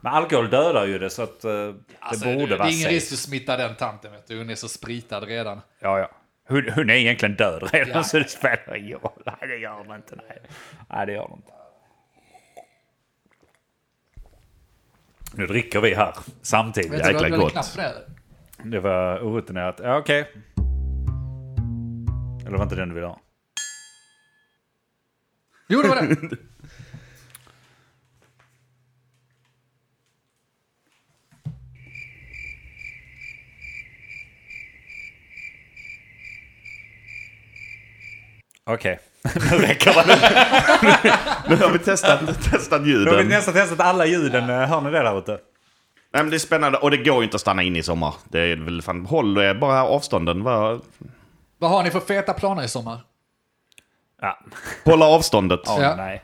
Speaker 3: Men alkohol dödar ju det, så att eh, det
Speaker 1: Alltså,
Speaker 3: borde
Speaker 1: det
Speaker 3: vara
Speaker 1: är ingen
Speaker 3: safe.
Speaker 1: risk att smitta den tanten. Vet du. Hon är så spritad redan.
Speaker 3: Ja, ja. Hon, hon är egentligen död redan,
Speaker 1: Ja.
Speaker 3: så det spelar ingen roll. Nej, det gör hon inte. Nej, nej det gör hon inte. Nu dricker vi här samtidigt.
Speaker 1: Vet du vad
Speaker 4: Jäkla
Speaker 1: du hade
Speaker 4: gott.
Speaker 1: knapp för det?
Speaker 3: Det var orutinerat. Ja, okej. Eller var inte den du ville ha?
Speaker 1: Jo, det var det.
Speaker 3: Okej, nu räcker det.
Speaker 4: Nu har vi testat, testat
Speaker 3: Nu har vi
Speaker 4: ljuden.
Speaker 3: nästan testat alla ljuden. Eh, Hör ni det där ute?
Speaker 4: Nej, men det är spännande och det går ju inte att stanna in i sommar. Det är väl fan, håll er bara avstånden. Var,
Speaker 1: Vad har ni för feta planer i sommar?
Speaker 3: Ja.
Speaker 4: hålla avståndet.
Speaker 3: Åh,
Speaker 1: Ja.
Speaker 3: nej.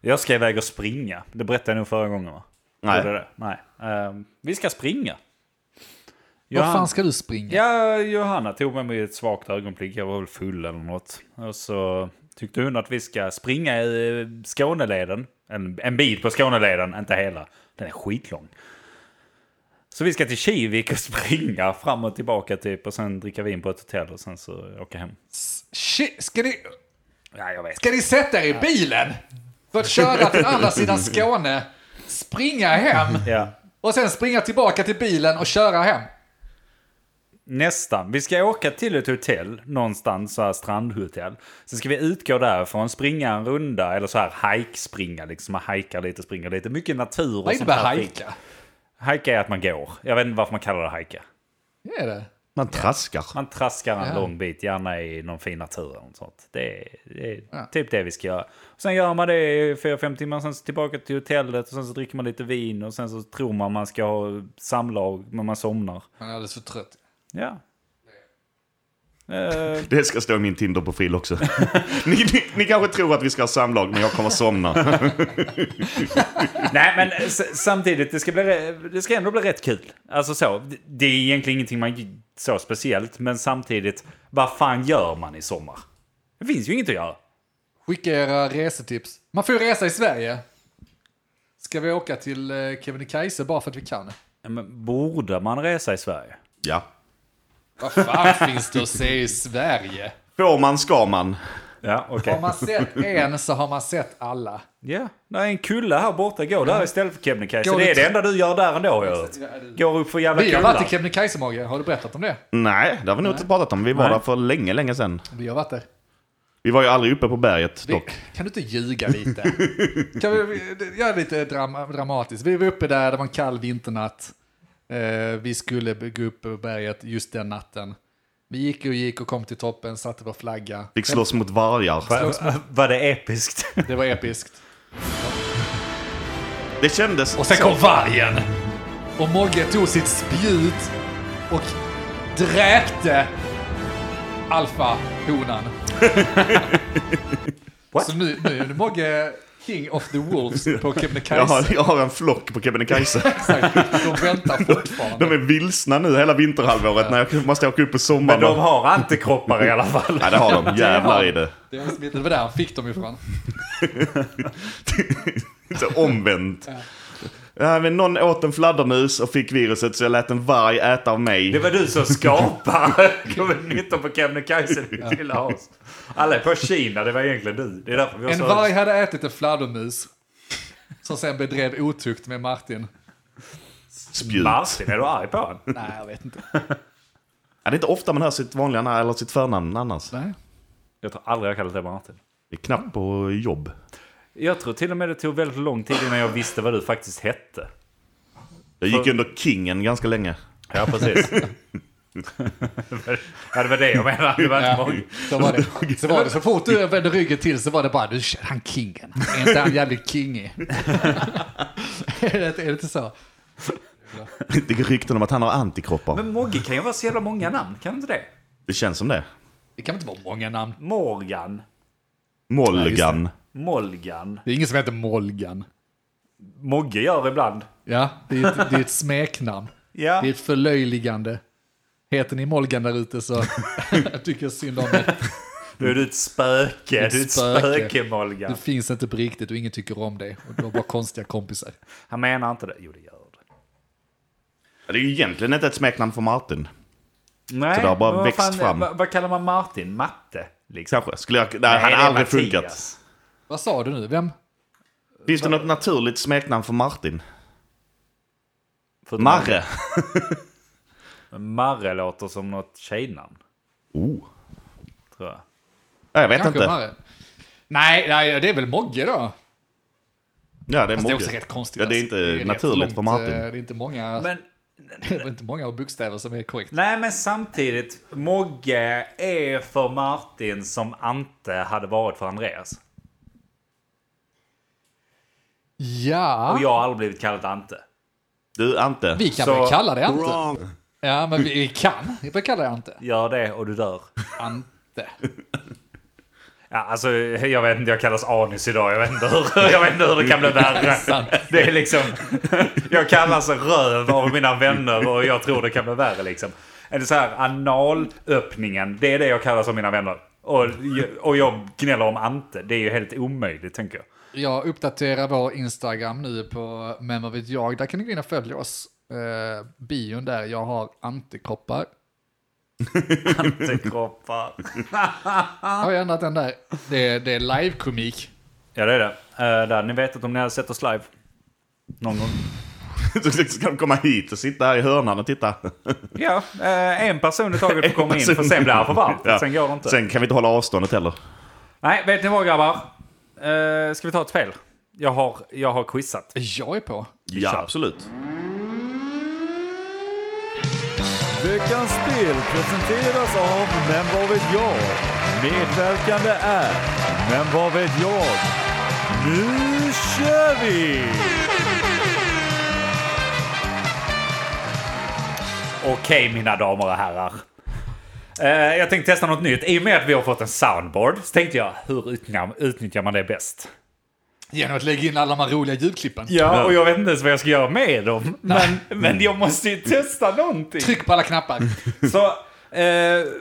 Speaker 3: Jag ska iväg och springa. Det berättade jag nog förra gången va?
Speaker 4: Nej.
Speaker 3: Gjorde jag det? nej. Ehm, vi ska springa.
Speaker 1: Vad
Speaker 3: Johan-
Speaker 1: fan ska du springa?
Speaker 3: Ja, Johanna tog med mig i ett svagt ögonblick. Jag var väl full eller något. Och så tyckte hon att vi ska springa i Skåneleden. En, en bit på Skåneleden, inte hela. Den är skitlång. Så vi ska till Kivik och springa fram och tillbaka typ och sen dricka vin på ett hotell och sen så åka hem.
Speaker 1: Shit, ska ni,
Speaker 3: Ja, jag vet.
Speaker 1: Ska ni sätta er i bilen? För att köra till andra sidan Skåne, springa hem
Speaker 3: Ja.
Speaker 1: och sen springa tillbaka till bilen och köra hem.
Speaker 3: Nästan. Vi ska åka till ett hotell någonstans, så här strandhotell. Sen ska vi utgå därifrån, springa en runda eller så här hike-springa. Liksom man hajkar lite, springer lite. Mycket natur och
Speaker 1: Vad
Speaker 3: sånt
Speaker 1: innebär
Speaker 3: här skit.
Speaker 1: hajka?
Speaker 3: Hajka är att man går. Jag vet inte varför man kallar det hajka.
Speaker 1: Det är det.
Speaker 4: Man traskar.
Speaker 3: Man traskar en
Speaker 1: Ja.
Speaker 3: lång bit, gärna i någon fin natur eller något sånt. Det är, det är
Speaker 1: Ja.
Speaker 3: typ det vi ska göra. Sen gör man det i 4-5 timmar, sen så tillbaka till hotellet och sen så dricker man lite vin och sen så tror man man ska ha samlag, men man somnar.
Speaker 1: Han är alldeles för trött.
Speaker 3: Ja. Eh,
Speaker 4: Det ska stå i min Tinder-profil också. ni, ni, ni kanske tror att vi ska ha samlag, men jag kommer somna.
Speaker 3: Nej, men s- samtidigt, det ska, bli, re- det ska ändå bli rätt kul. Alltså så, d- det är egentligen ingenting man g- så speciellt, men samtidigt, vad fan gör man i sommar? Det finns ju inget att göra.
Speaker 1: Skicka era resetips. Man får ju resa i Sverige. Ska vi åka till eh, Kebnekaise bara för att vi kan?
Speaker 3: Ja, Men borde man resa i Sverige?
Speaker 4: ja.
Speaker 1: Vad fan finns det att se i Sverige?
Speaker 4: Får man ska man.
Speaker 3: Ja, okej.
Speaker 1: Har man sett en så har man sett alla.
Speaker 3: Ja, det är en kulle här borta. Gå där istället för Kebnekaise.
Speaker 1: Går
Speaker 3: Det är
Speaker 1: du-
Speaker 3: det enda du gör där ändå, har jag hört. Går upp för jävla
Speaker 1: Vi har varit i
Speaker 3: kullar.
Speaker 1: Kebnekaise, Mogge. Har du berättat om det?
Speaker 4: Nej, det har vi nog inte pratat om. Vi var
Speaker 3: Nej.
Speaker 4: där för länge, länge sedan.
Speaker 1: Vi har varit där.
Speaker 4: Vi var ju aldrig uppe på berget
Speaker 1: Vi,
Speaker 4: dock.
Speaker 1: kan du inte ljuga lite? kan vi- vi göra lite dram, dramatiskt? Vi var uppe där, det var en kall vinternatt. Eh, vi skulle gå upp på berget just den natten. Vi gick och gick och kom till toppen, satte vår flagga.
Speaker 4: Fick slåss mot vargar.
Speaker 3: Var det episkt?
Speaker 1: Det var episkt.
Speaker 4: Det kändes...
Speaker 1: Och sen kom vargen. Och Mogge tog sitt spjut och dräpte alfahonan.
Speaker 3: What?
Speaker 1: Så nu, nu är Mogge king of the wolves på
Speaker 4: Jag har,
Speaker 1: Kebnekaise.
Speaker 4: jag har en flock på Kebnekaise.
Speaker 1: Exakt. De väntar
Speaker 4: De
Speaker 1: fortfarande.
Speaker 4: är vilsna nu hela vinterhalvåret när jag måste åka upp på
Speaker 3: Men
Speaker 4: sommaren.
Speaker 3: de har antikroppar i alla fall.
Speaker 4: Ja, det har de. Jävlar i det.
Speaker 1: Det var smitt- det var där han fick dem ifrån.
Speaker 4: Så omvänt. Ja, men någon åt en fladdermus och fick viruset så jag lät en varg äta av mig.
Speaker 3: Det var du som skapade covid-19 på Kebnekaise, ditt lilla as. Alla är på Kina, det var egentligen du. Det är därför vi har
Speaker 1: En
Speaker 3: så-
Speaker 1: varg hade ätit en fladdermus som sen bedrev otukt med Martin.
Speaker 4: Spjut.
Speaker 3: Martin, är du arg på honom?
Speaker 1: Nej, jag vet inte.
Speaker 4: Ja, det är inte ofta man hör sitt vanliga namn eller sitt förnamn annars.
Speaker 1: Nej.
Speaker 3: Jag tror aldrig jag kallat dig Martin.
Speaker 4: Det är knappt på jobb.
Speaker 3: Jag tror till och med det tog väldigt lång tid innan jag visste vad du faktiskt hette.
Speaker 4: Jag gick under kingen ganska länge.
Speaker 3: Ja, precis. ja, det var det jag menade. Det var inte
Speaker 1: Ja, så
Speaker 3: många.
Speaker 1: Äh, var det. Så, var det. så fort du vände ryggen till så var det bara, du han kingen. Är inte han jävligt kingig? är, det, är det inte så?
Speaker 4: Det går rykten om att han har antikroppar.
Speaker 3: Men Mogge kan ju vara så jävla många namn, kan inte det?
Speaker 4: Det känns som det.
Speaker 1: Det kan inte vara många namn.
Speaker 3: Morgan,
Speaker 4: Molgan.
Speaker 3: Molgan.
Speaker 1: Det är ingen som heter Molgan.
Speaker 3: Mogge gör ibland.
Speaker 1: Ja, det är ett, det är ett smeknamn.
Speaker 3: Ja.
Speaker 1: Det är ett förlöjligande. Heter ni Molgan där ute så jag tycker jag synd om er.
Speaker 3: Då är du ett spöke. Du är ett
Speaker 1: spöke.
Speaker 3: spöke, Molgan.
Speaker 1: Du finns inte på riktigt och ingen tycker om dig. Och du har bara konstiga kompisar.
Speaker 3: Han menar inte det. Jo, det gör det.
Speaker 4: Ja, Det är ju egentligen inte ett smeknamn för Martin.
Speaker 3: Nej,
Speaker 4: Så det har bara
Speaker 3: men vad
Speaker 4: växt fram.
Speaker 3: Vad, vad kallar man Martin? Matte? Liksom.
Speaker 4: Kanske. Skulle jag... Nej, hade
Speaker 3: det är
Speaker 4: aldrig
Speaker 3: Mattias.
Speaker 4: funkat.
Speaker 1: Vad sa du nu? Vem?
Speaker 4: Finns det något naturligt smeknamn för Martin?
Speaker 3: Förutom
Speaker 4: Marre.
Speaker 3: att Marre låter som något tjejnamn,
Speaker 4: Oh.
Speaker 3: tror jag.
Speaker 4: Ja, jag vet
Speaker 1: Kanske
Speaker 4: inte.
Speaker 1: Marre. Nej, nej, det är väl Mogge då?
Speaker 4: Ja, det är
Speaker 1: Fast det är
Speaker 4: Mogge.
Speaker 1: också rätt konstigt.
Speaker 4: Ja, det är
Speaker 1: alltså.
Speaker 4: inte
Speaker 1: rätt
Speaker 4: naturligt
Speaker 1: långt,
Speaker 4: för Martin.
Speaker 1: eh, Det är inte många,
Speaker 3: Men,
Speaker 1: det är inte många bokstäver som är korrekt.
Speaker 3: nej, men samtidigt. Mogge är för Martin som Ante hade varit för Andreas.
Speaker 1: Ja,
Speaker 3: Och jag har aldrig blivit kallad Ante.
Speaker 4: Du, Ante.
Speaker 1: vi kan
Speaker 3: Så-
Speaker 1: väl kalla det Ante? Ja, men vi kan. Vi kan kalla det Ante.
Speaker 3: Gör det och du dör.
Speaker 1: Ante.
Speaker 3: Ja, alltså, jag vet inte, jag kallas anis idag. Jag vet inte hur, jag vet inte hur det kan bli värre.
Speaker 1: Sant.
Speaker 3: Det är liksom, jag kallas röv av mina vänner och jag tror det kan bli värre. Liksom. Är det så här, analöppningen, det är det jag kallas av mina vänner. Och, och jag gnäller om Ante, det är ju helt omöjligt tänker jag.
Speaker 1: Jag uppdaterar vår Instagram nu på Men vad vet jag? Där kan ni gå in och följa oss. Eh, bion där, jag har antikroppar.
Speaker 3: Antekroppar.
Speaker 1: Har jag ändrat den där? Det är, det är live-komik.
Speaker 3: Ja det är det. Eh, där, ni vet att om ni har sett oss live någon gång.
Speaker 4: Så Ska de komma hit och sitta här i hörnan och titta?
Speaker 3: Ja, eh, en person i taget får komma in för
Speaker 4: person.
Speaker 3: sen blir han för varmt.
Speaker 4: Ja.
Speaker 3: Sen går det inte.
Speaker 4: Sen kan vi inte hålla avståndet heller.
Speaker 3: Nej, vet ni vad grabbar? Eh, ska vi ta ett spel? Jag har, jag har quizat.
Speaker 1: Jag är på.
Speaker 4: Ja, absolut.
Speaker 6: Veckans spel presenteras av Men vad vet jag? Medverkande är Men vad vet jag? Nu kör vi!
Speaker 3: Okej mina damer och herrar. Eh, jag tänkte testa något nytt. I och med att vi har fått en soundboard så tänkte jag hur utnyttjar, utnyttjar man det bäst?
Speaker 1: Genom att lägga in alla de här roliga ljudklippen.
Speaker 3: Ja, och jag vet inte ens vad jag ska göra med dem. Men, men jag måste ju testa någonting.
Speaker 1: Tryck på alla knappar.
Speaker 3: Mm. Så, eh,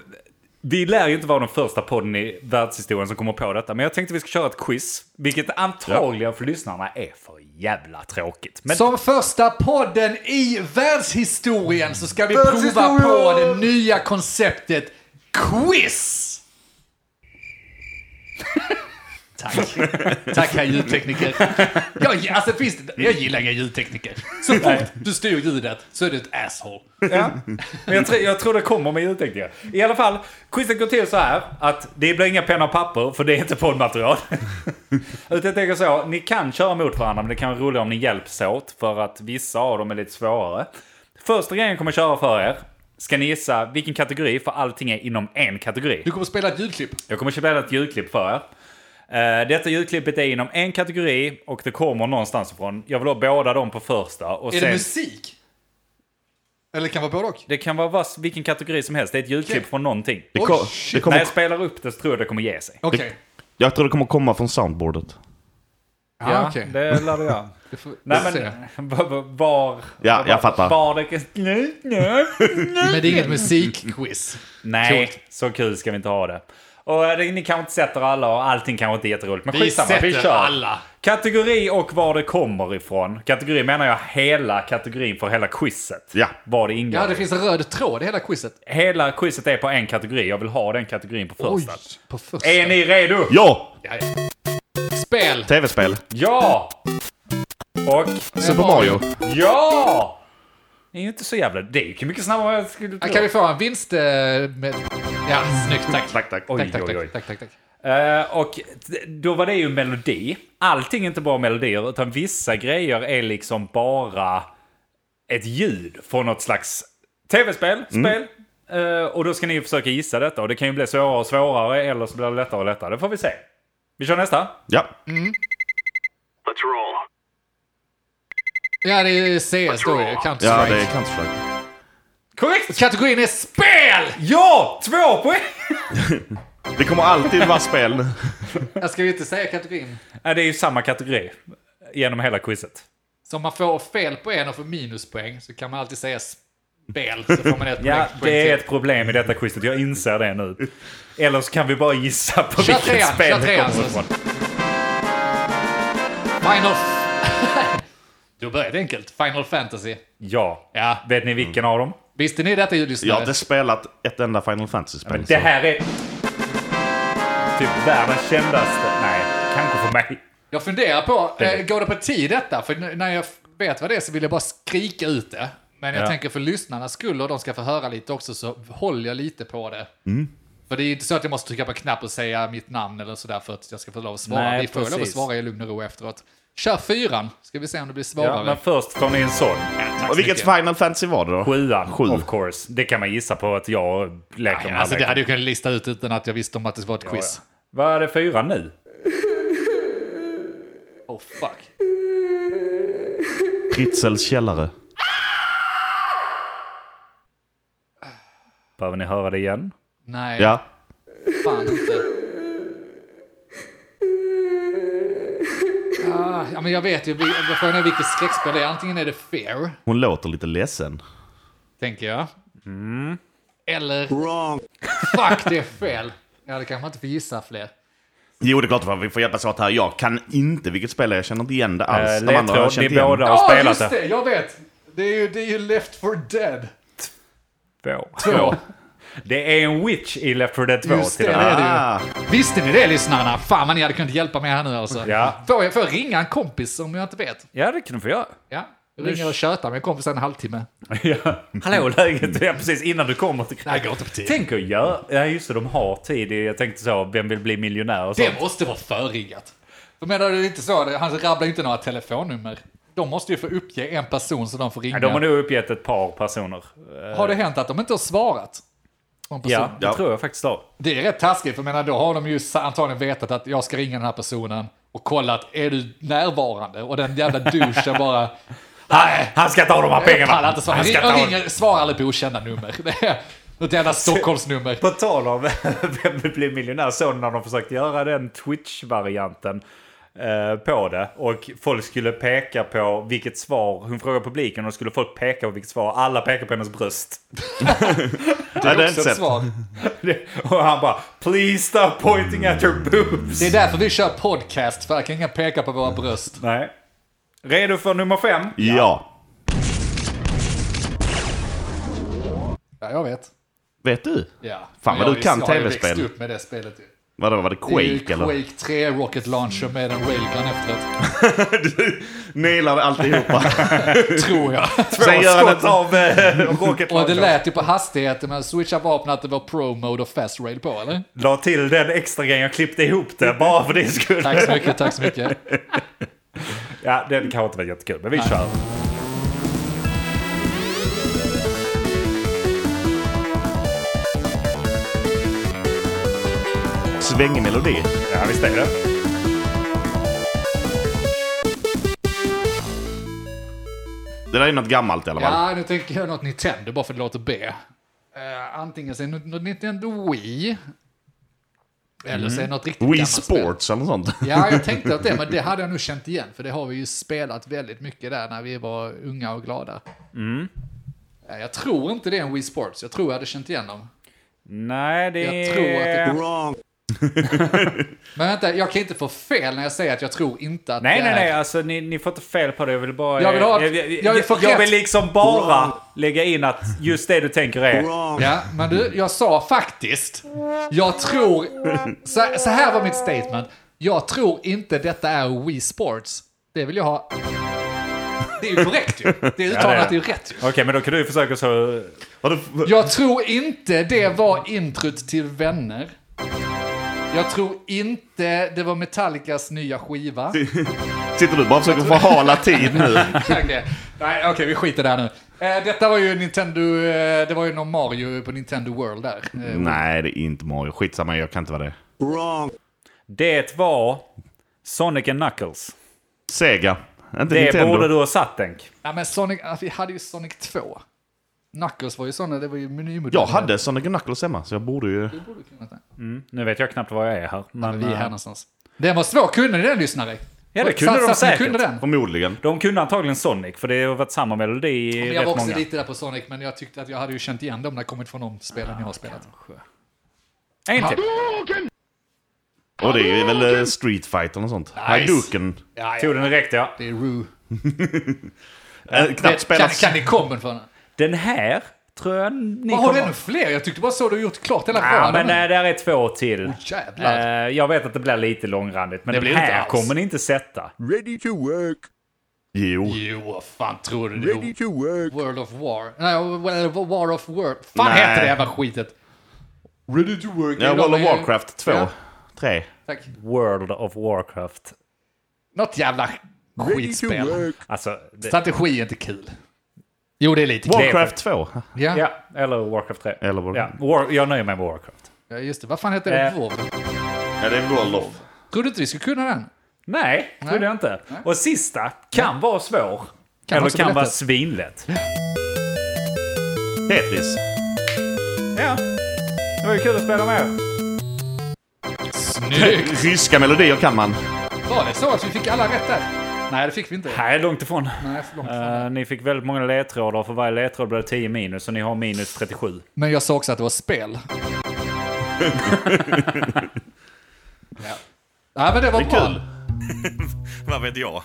Speaker 3: vi lär ju inte vara den första podden i världshistorien som kommer på detta. Men jag tänkte vi ska köra ett quiz. Vilket antagligen för lyssnarna är för jävla tråkigt. Men
Speaker 1: Som första podden i världshistorien så ska vi prova på det nya konceptet quiz! Tack. Tack herr ljudtekniker. Jag, alltså, finns det, jag gillar inga ljudtekniker. Så fort du styr ljudet så är du ett asshole.
Speaker 3: Ja. Men jag, tror- jag tror det kommer med ljud tänkte jag. I alla fall, quizet går till så här att det blir inga penna och papper för det är inte poddmaterial. Utan jag tänker så, ni kan köra mot varandra men det kan vara roligare om ni hjälps åt för att vissa av dem är lite svårare. Första grejen jag kommer köra för er ska ni gissa vilken kategori för allting är inom en kategori.
Speaker 1: Du kommer spela ett ljudklipp.
Speaker 3: Jag kommer spela ett ljudklipp för er. Eh, Detta ljudklippet är inom en kategori och det kommer någonstans ifrån. Jag vill ha båda dem på första. Och
Speaker 1: Är
Speaker 3: sen...
Speaker 1: det musik? Eller kan vara både och?
Speaker 3: Det kan vara vas- vilken kategori som helst. Det är ett ljudklipp
Speaker 1: Okej.
Speaker 3: från någonting.
Speaker 4: Det,
Speaker 1: Oj,
Speaker 4: ko- det
Speaker 1: shit.
Speaker 3: När
Speaker 4: kommer,
Speaker 3: jag spelar upp det så tror jag det kommer ge sig.
Speaker 1: Okej.
Speaker 4: jag tror det kommer komma från soundboardet.
Speaker 1: Ja, Ah, okej.
Speaker 3: det lär det göra.
Speaker 1: Det får-
Speaker 3: Nej
Speaker 1: vi får se.
Speaker 3: men, var... var
Speaker 4: Ja, jag fattar.
Speaker 3: Var det... Nej, nej.
Speaker 1: Men det är inget musikquiz.
Speaker 3: nej, så kul ska vi inte ha det. Och eh, det- ni kanske inte sätter alla och allting kanske inte är jätteroligt. Men
Speaker 1: Vi
Speaker 3: skitsamma, vi
Speaker 1: sätter
Speaker 3: kör.
Speaker 1: alla.
Speaker 3: Kategori och var det kommer ifrån. Kategori menar jag hela kategorin för hela quizet.
Speaker 4: Ja.
Speaker 3: Var det ingår.
Speaker 1: Ja, det finns en röd tråd i hela quizet.
Speaker 3: Hela quizet är på en kategori. Jag vill ha den kategorin på första.
Speaker 1: på första.
Speaker 3: Är ni redo?
Speaker 4: Ja!
Speaker 1: Ja, ja. Spel!
Speaker 4: Tv-spel.
Speaker 3: Ja! Och...
Speaker 4: Super Mario.
Speaker 3: Ja! Det är ju inte så jävla... Det är ju mycket snabbare än jag skulle tro.
Speaker 1: Ja, Kan vi få en vinst? eh, Med... Ja, snyggt. Tack.
Speaker 4: Tack, tack.
Speaker 3: Oj,
Speaker 1: tack, tack,
Speaker 3: oj, oj.
Speaker 1: tack, tack, tack, tack.
Speaker 3: Eh, och t- då var det ju melodi. Allting är inte bara melodier, utan vissa grejer är liksom bara ett ljud från något slags tv-spel, spel. Eh, och då ska ni försöka gissa detta. Och det kan ju bli svårare och svårare, eller så blir det lättare och lättare. Det får vi se. Vi kör nästa.
Speaker 4: Ja.
Speaker 1: Mm.
Speaker 2: Let's roll.
Speaker 1: Ja, det är CS då ju. Counter
Speaker 4: ja, det
Speaker 1: Strike.
Speaker 4: är Counter-Strike.
Speaker 3: Korrekt!
Speaker 1: Kategorin är spel!
Speaker 3: Ja! Två poäng!
Speaker 4: Det kommer alltid vara spel.
Speaker 1: Jag ska ju inte säga kategorin.
Speaker 3: Ja, det är ju samma kategori genom hela quizet.
Speaker 1: Så om man får fel på en och får minuspoäng så kan man alltid säga spel. Så får man ett
Speaker 3: Ja,
Speaker 1: poäng
Speaker 3: det är
Speaker 1: till.
Speaker 3: ett problem i detta quizet. Jag inser det nu. Eller så kan vi bara gissa på
Speaker 1: Kör
Speaker 3: vilket
Speaker 1: trean, kör
Speaker 3: spel det
Speaker 1: trean,
Speaker 3: kommer
Speaker 1: så-
Speaker 3: ifrån.
Speaker 1: Final... Du började enkelt. Final Fantasy.
Speaker 3: Ja.
Speaker 1: Ja.
Speaker 3: Vet ni vilken av dem?
Speaker 1: Visste ni detta
Speaker 4: Jag har
Speaker 1: ljudlyssnare?
Speaker 4: inte spelat ett enda Final Fantasy-spel.
Speaker 3: Det
Speaker 4: så-
Speaker 3: här är typ världens kändaste. Nej, kanske för mig.
Speaker 1: Jag funderar på, eh, går det på tid detta? För n- när jag f- vet vad det är så vill jag bara skrika ut det. Men jag
Speaker 3: Ja.
Speaker 1: tänker för lyssnarnas skull och de ska få höra lite också så håller jag lite på det. För det är ju inte så att jag måste trycka på en knapp och säga mitt namn eller sådär för att jag ska få lov att svara.
Speaker 3: Nej,
Speaker 1: Vi får lov att
Speaker 3: precis.
Speaker 1: svara i lugn och ro efteråt. Kör fyran, ska vi se om det blir svårare.
Speaker 3: Ja, men först får ni en sån.
Speaker 4: Och vilket Final Fantasy var det då?
Speaker 3: Sjuan,
Speaker 4: Sju.
Speaker 3: of course. Det kan man gissa på att jag leker
Speaker 1: Ja,
Speaker 3: med.
Speaker 1: alltså,
Speaker 3: alla.
Speaker 1: det hade jag kunnat lista ut utan att jag visste om att det var ett quiz.
Speaker 3: Vad är det fyra nu?
Speaker 1: Oh fuck.
Speaker 4: Fritzels källare.
Speaker 3: Behöver ni höra det igen?
Speaker 1: Nej,
Speaker 4: Ja.
Speaker 1: fan inte. Ah, ja, men jag vet ju, vi- frågan är vilket skräckspel det är. Antingen är det Fear.
Speaker 4: Hon låter lite ledsen.
Speaker 1: tänker jag. Eller... Wrong! Fuck, det är fel. Ja, det kanske man inte får gissa fler.
Speaker 4: Jo, det är klart. för Vi får hjälpas åt här. Jag kan inte vilket spel jag känner inte igen det alls.
Speaker 3: Eh,
Speaker 4: De andra har jag
Speaker 3: Ledtråd,
Speaker 4: känt
Speaker 3: ni
Speaker 4: igen.
Speaker 3: båda har
Speaker 1: Ja,
Speaker 3: spelat
Speaker 1: Ah, just
Speaker 3: det.
Speaker 1: det! Jag vet! Det är ju, det är ju Left for Dead.
Speaker 3: Två. Det är en witch i Left 4 Dead 2
Speaker 1: Just
Speaker 3: till
Speaker 1: det.
Speaker 3: och med.
Speaker 1: är ju.
Speaker 4: Ah,
Speaker 1: Visste ni det, lyssnarna? Fan vad ni hade kunnat hjälpa mig här nu alltså.
Speaker 3: Ja.
Speaker 1: Får, jag, får jag ringa en kompis om jag inte vet?
Speaker 3: Ja, det kan du få göra.
Speaker 1: Ja. Jag ringer och tjötar med kompisen en halvtimme.
Speaker 3: Ja. Hallå, läget? Ja, precis innan du kommer till...
Speaker 1: Nej, det går inte på tid.
Speaker 3: Tänk att göra... Ja, just det, de har tid. Jag tänkte så, vem vill bli miljonär och så.
Speaker 1: Det måste vara förriggat. Jag menar, det är inte så. Han rabblar ju inte några telefonnummer. de måste ju få uppge en person så de får ringa.
Speaker 3: Ja, de har nog uppgett ett par personer.
Speaker 1: Har det hänt att de inte har svarat? på en person?
Speaker 3: Ja, det
Speaker 4: Ja.
Speaker 3: tror jag faktiskt har.
Speaker 1: Det är rätt taskigt, för jag menar, då har de ju sa- antagligen vetat att jag ska ringa den här personen och kollat, är du närvarande? Och den jävla douchen bara,
Speaker 3: Han, han ska ta de här
Speaker 1: jag pallar
Speaker 3: pengarna!
Speaker 1: inte svara.
Speaker 3: Han ska
Speaker 1: Jag
Speaker 3: ta
Speaker 1: ringer, svarar aldrig på okända nummer. Det är något jävla Stockholmsnummer.
Speaker 3: På tal om Vem vill bli miljonär? Såg ni när de försökte göra den Twitch-varianten eh, på det? Och folk skulle peka på vilket svar... Hon frågade publiken och då skulle folk peka på vilket svar. Alla pekar på hennes bröst.
Speaker 1: Också
Speaker 4: Det är inte
Speaker 1: ett
Speaker 4: sett.
Speaker 1: svar.
Speaker 3: Och han bara “Please stop pointing at your boobs”.
Speaker 1: Det är därför vi kör podcast, för jag kan inga peka på våra bröst.
Speaker 3: Nej. Redo för nummer fem?
Speaker 4: Ja.
Speaker 1: Ja, jag vet.
Speaker 4: Vet du?
Speaker 1: Ja.
Speaker 4: Fan, vad
Speaker 1: Jag
Speaker 4: du
Speaker 1: är-
Speaker 4: kan
Speaker 1: Jag har ju
Speaker 4: TV-spel.
Speaker 1: växt upp med det spelet ju.
Speaker 4: Vadå, var det
Speaker 1: Det är
Speaker 4: Quake,
Speaker 1: ju
Speaker 4: eller?
Speaker 1: Quake 3 Rocket Launcher med en railgun efteråt.
Speaker 4: Nailar alltihopa.
Speaker 1: Tror jag.
Speaker 4: Sen gör han
Speaker 3: Skott
Speaker 4: ett...
Speaker 3: av eh, Rocket
Speaker 1: Och det
Speaker 3: Launcher.
Speaker 1: lät ju på hastigheten, men switcha vapnet att det var pro-mode och fast rail på, eller?
Speaker 3: La till den extra grejen, jag klippte ihop det bara för din skull.
Speaker 1: Tack så mycket, tack så mycket.
Speaker 3: Ja, den kanske inte var jättekul, men vi kör.
Speaker 4: Svängig melodi.
Speaker 3: Ja, visst är det.
Speaker 4: Det där är något gammalt i alla fall.
Speaker 1: Ja, nu tänker jag något Nintendo bara för att det låter B. Eh, antingen så är det något- något Nintendo Wii. Eller så är det något riktigt
Speaker 4: Wii
Speaker 1: gammalt spel.
Speaker 4: Sports eller något sånt.
Speaker 1: Ja, jag tänkte att det, men det hade jag nog känt igen. För det har vi ju spelat väldigt mycket där när vi var unga och glada. Eh, Jag tror inte det är en Wii Sports. Jag tror jag hade känt igen dem.
Speaker 3: Nej, det
Speaker 1: Jag
Speaker 3: är...
Speaker 1: tror att det Men vänta, jag kan inte få fel när jag säger att jag tror inte att
Speaker 3: Nej,
Speaker 1: det
Speaker 3: nej,
Speaker 1: är...
Speaker 3: nej, alltså ni, ni får inte fel på det. Jag vill bara...
Speaker 1: Jag vill ha-
Speaker 3: jag, jag,
Speaker 1: jag vill få
Speaker 3: jag, jag
Speaker 1: rätt.
Speaker 3: vill liksom bara lägga in att just det du tänker är...
Speaker 1: Ja, men du, jag sa faktiskt, jag tror, så, så här var mitt statement, jag tror inte detta är Wii Sports. Det vill jag ha. Det är ju korrekt ju. Det uttalandet är ju rätt ju.
Speaker 3: Okej, men då kan du försöka så...
Speaker 4: Vadå?
Speaker 1: Jag tror inte det var introt till Vänner. Jag tror inte det var Metallicas nya skiva.
Speaker 4: Sitter du bara och försöker förhala tid nu?
Speaker 1: Tack det. Nej, okej, vi skiter där nu. Eh, detta var ju Nintendo, eh, det var ju någon Mario på Nintendo World där. Eh,
Speaker 3: Mm.
Speaker 4: Nej, det är inte Mario. Skitsamma, jag kan inte vara det.
Speaker 3: Det var Sonic and Knuckles.
Speaker 4: Sega. Inte
Speaker 3: Det
Speaker 4: Nintendo.
Speaker 3: borde du ha satt, tänk.
Speaker 1: Ja, men Sonic, alltså, vi hade ju Sonic 2. Knuckles var ju sådana, det var ju menymodellen.
Speaker 4: Jag hade Sonic Knuckles hemma, så jag borde ju...
Speaker 1: Det borde kunna ta.
Speaker 3: Nu vet jag knappt var jag är här. Men,
Speaker 1: Vi är
Speaker 3: eh,
Speaker 1: här någonstans. Den var svår, kunde ni den lyssnare?
Speaker 3: Ja, det kunde
Speaker 1: Satsar
Speaker 3: de
Speaker 1: att ni
Speaker 3: säkert.
Speaker 1: kunde den.
Speaker 4: Förmodligen.
Speaker 3: De kunde antagligen Sonic, för det har varit samma melodi i
Speaker 1: Jag
Speaker 3: rätt
Speaker 1: var också
Speaker 3: många.
Speaker 1: lite där på Sonic, men jag tyckte att jag hade ju känt igen dem när det kommit från de spelen jag har spelat.
Speaker 3: En till.
Speaker 4: Och det är väl eh, Street Fighter och sånt. Hadouken.
Speaker 1: Ja, ja,
Speaker 3: Tog den direkt, ja.
Speaker 1: det är Rue.
Speaker 4: Äh, knappt
Speaker 1: Kan,
Speaker 4: spelas...
Speaker 1: kan ni komben för den?
Speaker 3: Den här tror jag ni
Speaker 1: Vad har du
Speaker 3: kommer...
Speaker 1: ännu fler? Jag tyckte bara så du gjort klart hela
Speaker 3: Ja, men
Speaker 1: raden.
Speaker 3: nej, där är två till.
Speaker 1: jävlar.
Speaker 3: Eh, jag vet att det blir lite långrandigt, men
Speaker 1: Det
Speaker 3: den
Speaker 1: blir det inte
Speaker 3: här
Speaker 1: alls.
Speaker 3: kommer ni inte sätta.
Speaker 4: Jo.
Speaker 1: Jo, vad fan tror du? Ready to work. World of War. Nej, well, War of Work. Fan
Speaker 4: Nej.
Speaker 1: heter det jävla skitet? Ready to work.
Speaker 4: Ja,
Speaker 1: De
Speaker 4: World of
Speaker 1: är-
Speaker 4: Warcraft 2.
Speaker 1: Ja,
Speaker 4: 3.
Speaker 1: tack.
Speaker 3: World of Warcraft.
Speaker 1: Något jävla skitspel.
Speaker 3: Alltså, det,
Speaker 1: Strategi är inte kul. Jo, det är lite kul.
Speaker 4: Warcraft 2.
Speaker 1: Ja.
Speaker 3: ja, eller Warcraft 3.
Speaker 4: Eller Warcraft.
Speaker 3: Ja, War, jag nöjer mig med Warcraft.
Speaker 1: ja, just det. Vad fan heter det?
Speaker 3: Eh.
Speaker 1: Vov?
Speaker 4: Ja, det är World of.
Speaker 1: Trodde inte vi skulle kunna den?
Speaker 3: Nej, trodde jag inte. Och sista kan vara svår.
Speaker 1: Kan
Speaker 3: eller
Speaker 1: också
Speaker 3: kan
Speaker 1: bli
Speaker 3: vara
Speaker 1: lätt.
Speaker 3: svinlätt.
Speaker 4: Tetris.
Speaker 3: Ja, det var ju kul att spela med.
Speaker 1: Snyggt!
Speaker 4: Ryska melodier kan man.
Speaker 1: Var det så att vi fick alla rätt där? Nej, det fick vi inte.
Speaker 3: Nej, långt ifrån.
Speaker 1: Nej, för långt ifrån.
Speaker 3: Eh, ni fick väldigt många ledtrådar. För varje ledtråd blev det 10 minus och ni har minus 37.
Speaker 1: Men jag sa också att det var spel. ja. ja, men det var bra.
Speaker 4: kul.
Speaker 2: Vad vet jag?